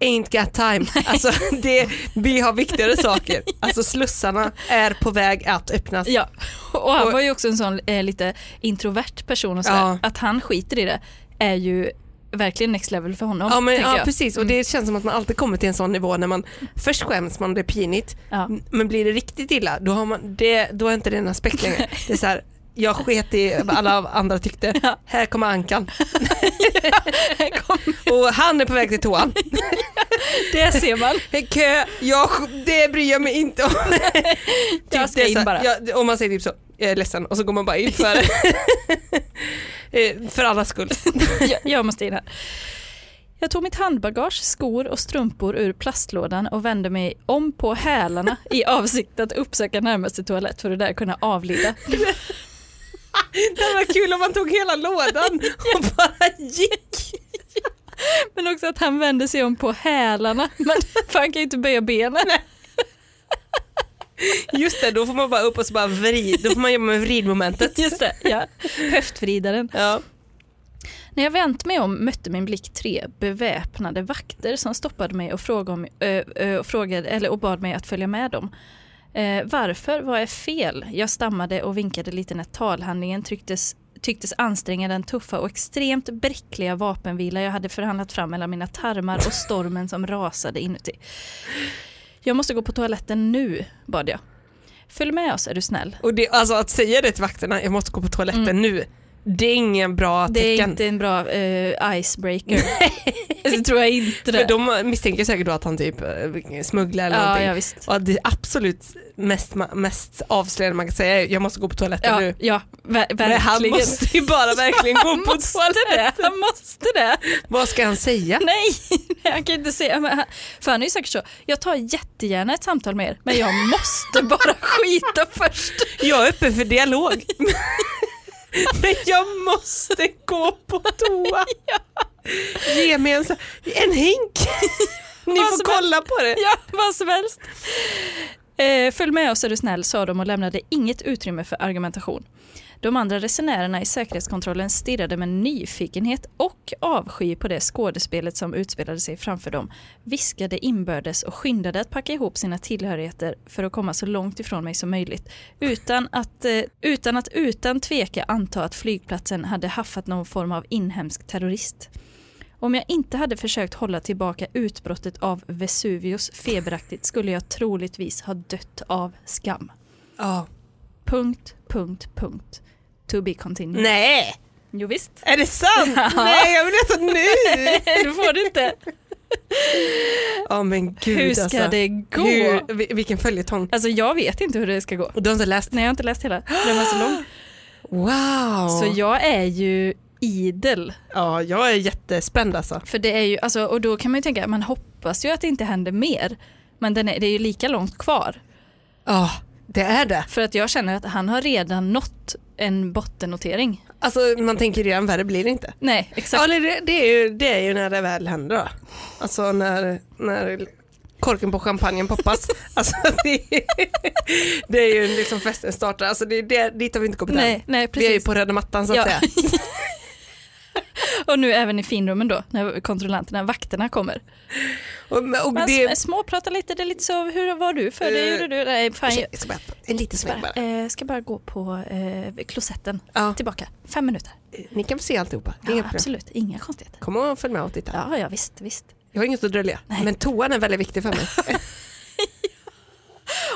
B: ain't got time. Alltså, det, vi har viktigare saker. Alltså slussarna är på väg att öppnas.
A: Ja, och han
B: Och-
A: var ju också en sån eh, lite introvert person och så
B: Ja.
A: Att han skiter i det är ju verkligen next level för honom.
B: Ja, men,
A: tänker
B: ja
A: jag. Mm.
B: precis och det känns som att man alltid kommer till en sån nivå när man först skäms man, det är pinigt,
A: Ja.
B: m- men blir det riktigt illa då, har man, det, då är inte det en aspekt längre. Det är så här, jag sket i vad alla andra tyckte, här kommer ankan och han är på väg till toan.
A: det ser man.
B: Kö, jag, sk- det bryr jag mig inte om. Typ,
A: Jag ska
B: det är
A: in
B: så här,
A: bara.
B: Jag, om man säger typ så, jag är ledsen och så går man bara in för Eh, För allas skull.
A: jag, jag måste in här. Jag tog mitt handbagage, skor och strumpor ur plastlådan och vände mig om på hälarna i avsikt att uppsöka närmaste toalett för att där kunna avlida.
B: Det var kul om man tog hela lådan och bara gick.
A: Men också att han vände sig om på hälarna, men för han kan ju inte böja benen.
B: Just det, då får man bara upp och så bara vrid, då får man jobba med vridmomentet.
A: Just det, ja. Höftvridaren.
B: Ja.
A: När jag vänt mig om mötte min blick tre beväpnade vakter som stoppade mig och frågade, om, ö, ö, och frågade eller, och bad mig att följa med dem. Eh, varför? Vad är fel? Jag stammade och vinkade lite när talhandlingen trycktes, tycktes anstränga den tuffa och extremt bräckliga vapenvila jag hade förhandlat fram mellan mina tarmar och stormen som rasade inuti. Jag måste gå på toaletten nu, bad jag. Följ med oss är du snäll.
B: Och det, alltså att säga det till vakterna, jag måste gå på toaletten nu, Det är ingen bra
A: Det är
B: tecken.
A: inte en bra eh, icebreaker. det tror jag inte.
B: För
A: Det.
B: de misstänker säkert då att han typ eh, smugglar eller
A: Ja,
B: någonting.
A: ja, visst.
B: Och det absolut mest, ma- mest avslöjande man kan säga är jag måste gå på toaletten
A: Ja,
B: nu.
A: ja ver-
B: Men
A: verkligen.
B: han måste ju bara verkligen gå
A: Han
B: på
A: måste det, han måste det.
B: Vad ska han säga?
A: Nej, nej, han kan inte säga. Men han, för han är ju säkert så, jag tar jättegärna ett samtal med er, men jag måste bara skita först.
B: Jag är öppen för dialog. Men jag måste gå på toa. Ge mig en, så- en hink. Ni
A: Vad
B: får
A: som helst.
B: kolla på det.
A: Ja, vad som helst. Eh, följ med oss är du snäll, sa de och lämnade inget utrymme för argumentation. De andra resenärerna i säkerhetskontrollen stirrade med nyfikenhet och avsky på det skådespelet som utspelade sig framför dem, viskade inbördes och skyndade att packa ihop sina tillhörigheter för att komma så långt ifrån mig som möjligt, utan att eh, utan, att utan tveka anta att flygplatsen hade haffat någon form av inhemsk terrorist. Om jag inte hade försökt hålla tillbaka utbrottet av Vesuvius feberaktigt skulle jag troligtvis ha dött av skam.
B: Ja.
A: Punkt, punkt, punkt. To be continued.
B: Nej,
A: Jo, visst.
B: är det sant? Nej, jag vill veta nu.
A: det får du inte.
B: Ja men gud
A: Hur ska
B: alltså.
A: det gå?
B: Hur, vi- vilken följetong.
A: Alltså jag vet inte hur det ska gå.
B: Och du har inte läst?
A: Nej, jag har inte läst hela. Den var så lång.
B: Wow.
A: Så jag är ju idel.
B: ja, jag är jättespänd alltså.
A: För det är ju, alltså, och då kan man ju tänka, man hoppas ju att det inte händer mer. Men den är, det är ju lika långt kvar.
B: Ja, det är det.
A: För att jag känner att han har redan nått en bottennotering.
B: Alltså man tänker redan värre blir det inte.
A: Nej, exakt.
B: Ja, eller det, det, är ju, det är ju när det väl händer då. Alltså när, när korken på champagnen poppas. alltså det, är- det är ju liksom festen startar. Alltså det, är det, dit har vi inte kommit
A: Nej,
B: än.
A: nej
B: Vi är ju
A: precis.
B: på röda mattan så att
A: Ja.
B: säga.
A: Och nu även i finrummen då, när kontrollanterna, vakterna kommer.
B: Och, och
A: Man
B: det,
A: sm- småpratar lite, det är lite så, hur var du för
B: Eh,
A: det gjorde du? Nej, fan, jag
B: Ursäkta, jag ska bara, en liten sväng bara.
A: bara, eh, ska bara gå på eh, klosetten,
B: Ja.
A: tillbaka, fem minuter.
B: Ni kan få se alltihopa. Det är
A: Ja,
B: inga problem.
A: absolut, inga konstigheter.
B: Kom och följ med och titta.
A: Ja, ja visst, visst.
B: Jag har inget att drölja.
A: Nej.
B: Men toan är väldigt viktig för mig.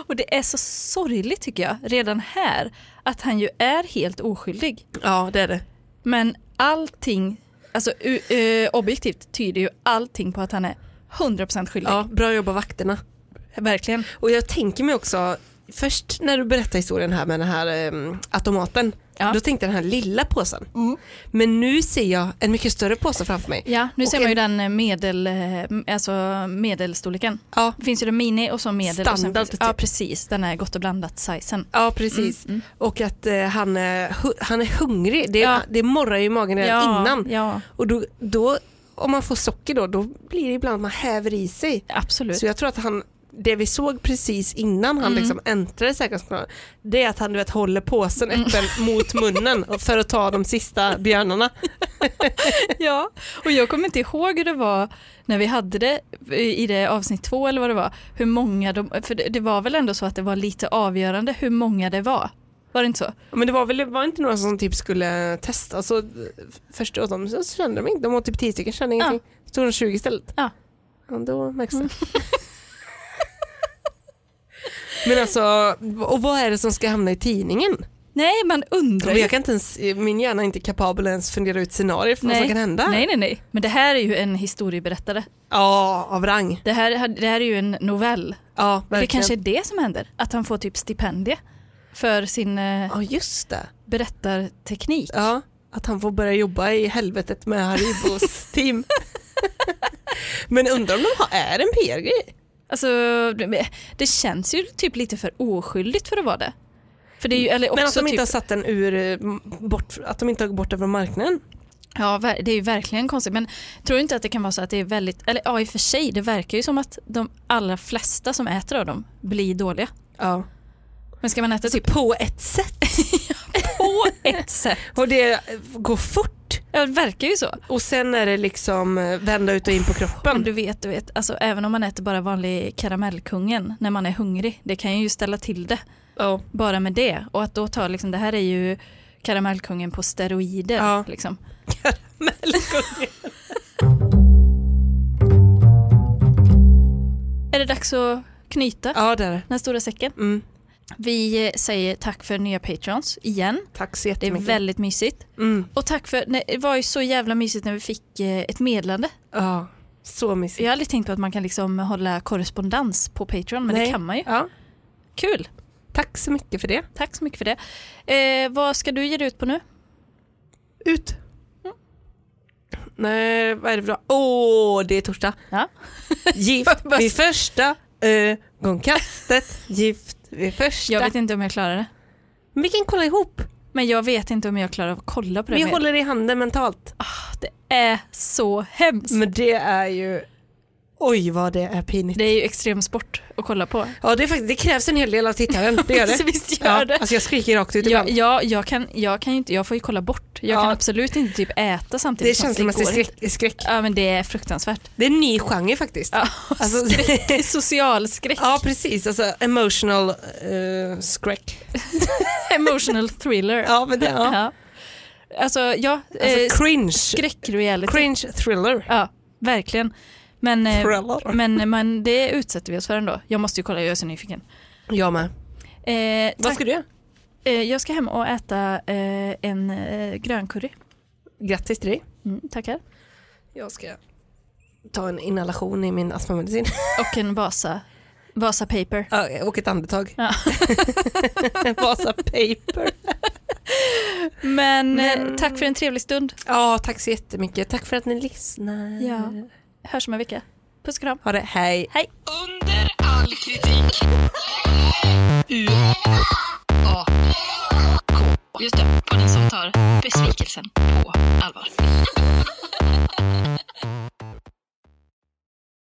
A: Och det är så sorgligt tycker jag, redan här, att han ju är helt oskyldig.
B: ja, det är det.
A: Men allting, alltså u- eh, objektivt tyder ju allting på att han är 100% skyldig.
B: Ja, bra jobbat vakterna.
A: Verkligen.
B: Och jag tänker mig också, först när du berättar historien här med den här ehm, automaten,
A: Ja.
B: då tänkte jag den här lilla påsen. Men nu ser jag en mycket större påse framför mig.
A: Ja, nu
B: Och
A: ser man ju
B: en-
A: den eh, medel, eh, alltså medelstorleken.
B: Ja,
A: Det finns ju den mini och så medel. och sen,
B: Standard,
A: finns- ja, precis. Den är gott och blandat-sizen.
B: ja precis.
A: Mm.
B: Och att eh, han, är, hu- han är hungrig, det,
A: Ja.
B: det morrar ju i magen redan innan.
A: ja,
B: Och då, då, om man får socker då, då blir det ibland man häver i sig.
A: absolut.
B: Så jag tror att han, det vi såg precis innan
A: Mm.
B: han liksom äntrade säkerhetskontrollen, det är att han du vet, håller påsen
A: Mm.
B: öppen mot munnen för att ta de sista björnarna.
A: Ja, och jag kommer inte ihåg hur det var när vi hade det i det avsnitt två eller vad det var. Hur många de, för det, det var väl ändå så att det var lite avgörande hur många det var. Var det inte så?
B: Men det var väl var inte några som typ skulle testa, så först åt dem så kände de inte, de åt typ 10 stycken, kände ingenting. Så tog de 20 istället.
A: Ja. Mm.
B: Ja, då märks det. Men alltså, och vad är det som ska hamna i tidningen?
A: Nej, man undrar ju.
B: Jag kan inte ens, min hjärna är inte kapabel att ens fundera ut scenarier för vad som kan hända.
A: nej, nej, nej. Men det här är ju en historieberättare.
B: Ja, av rang.
A: Det här, det här är ju en novell.
B: Ja, verkligen.
A: Det kanske är det som händer, att han får typ stipendie för sin eh,
B: Ja just det.
A: berättarteknik.
B: Ja, att han får börja jobba i helvetet med Haribos team. Men undrar om de har, är det en PR-grej?
A: Alltså, det, det känns ju typ lite för oskyldigt för att vara det. För det är ju, eller också
B: Men att de inte
A: typ,
B: har satt den ur, eh, m- bort, att de inte har gått bort den från marknaden.
A: ja, ver- det är ju verkligen konstigt. Men tror du inte att det kan vara så att det är väldigt, eller ja i och för sig, det verkar ju som att de allra flesta som äter av dem blir dåliga.
B: Ja.
A: Men ska man äta typ
B: Alltså, På ett sätt.
A: på ett sätt?
B: Och det eh, går fort.
A: Ja, det verkar ju så.
B: Och sen är det liksom eh, vända ut och in på
A: Men
B: kroppen.
A: du vet, du vet, alltså även om man äter bara vanlig karamellkungen när man är hungrig, det kan ju ställa till det.
B: Ja.
A: bara med det. Och att då ta, liksom, det här är ju karamellkungen på steroider.
B: Ja.
A: Liksom.
B: Melkungen.
A: Är det dags att knyta
B: ja, där.
A: den här stora säcken?
B: Mm.
A: Vi eh, säger tack för nya patrons igen.
B: Tack så
A: Det är
B: jättemycket.
A: väldigt mysigt.
B: mm.
A: Och tack för, nej, det var ju så jävla mysigt när vi fick eh, ett meddelande.
B: Ja, så mysigt.
A: Jag har aldrig tänkt på att man kan liksom hålla korrespondens på Patreon, men
B: Nej.
A: det kan man ju.
B: Ja.
A: Kul!
B: Tack så mycket för det.
A: Tack så mycket för det. Eh, vad ska du ge dig ut på nu?
B: Ut!
A: Mm.
B: Nej, vad är det för dag? Åh, det är torsdag.
A: Ja.
B: Gift vid första ögonkastet. Gift vid första.
A: Jag vet inte om jag klarar det.
B: Men Vi kan kolla ihop.
A: Men jag vet inte om jag klarar av att kolla på det.
B: Vi
A: mer.
B: håller i handen mentalt.
A: Alltså. Det är så hemskt.
B: Men det är ju... Oj vad det är pinigt.
A: Det är ju extremsport att kolla på.
B: Ja, det, är faktiskt, det krävs en hel del av tittaren. Det gör det.
A: Så visst gör
B: ja,
A: det.
B: Alltså jag skriker rakt ut
A: Jag,
B: ibland.
A: jag, jag, kan, jag, kan ju inte, jag får ju kolla bort. Jag
B: Ja.
A: kan absolut inte typ äta
B: Det är
A: samtidigt. som-
B: känslomässig
A: går inte.
B: skräck, skräck.
A: Ja men det är fruktansvärt.
B: Det är en ny genre faktiskt.
A: Ja,
B: Alltså-
A: skräck, social skräck,
B: Ja, precis. Alltså emotional eh, skräck.
A: emotional thriller.
B: Ja, men det, ja.
A: Ja. Alltså ja, eh,
B: Alltså cringe.
A: skräckreality.
B: Cringe thriller.
A: Ja, verkligen. Men, eh,
B: Thriller.
A: men, men det utsätter vi oss för ändå. Jag måste ju kolla, jag är så nyfiken.
B: Jag med.
A: Eh,
B: Vad
A: tack.
B: ska du göra?
A: eh, jag ska hem och äta eh, en eh, gröncurry.
B: Grattis till dig.
A: Mm, tackar.
B: Jag ska ta en inhalation i min astmamedicin.
A: Och en Vasa, Vasa paper.
B: Ja, Och ett andetag.
A: Ja.
B: Vasa paper.
A: Men,
B: Men-
A: Eh, tack för en trevlig stund.
B: Ja, tack så jättemycket. Tack för att ni lyssnar.
A: Ja. Hörs om en vecka. Puss och kram.
B: Ha det, hej.
C: Under all kritik. U A K. Just det, podden som tar besvikelsen på allvar.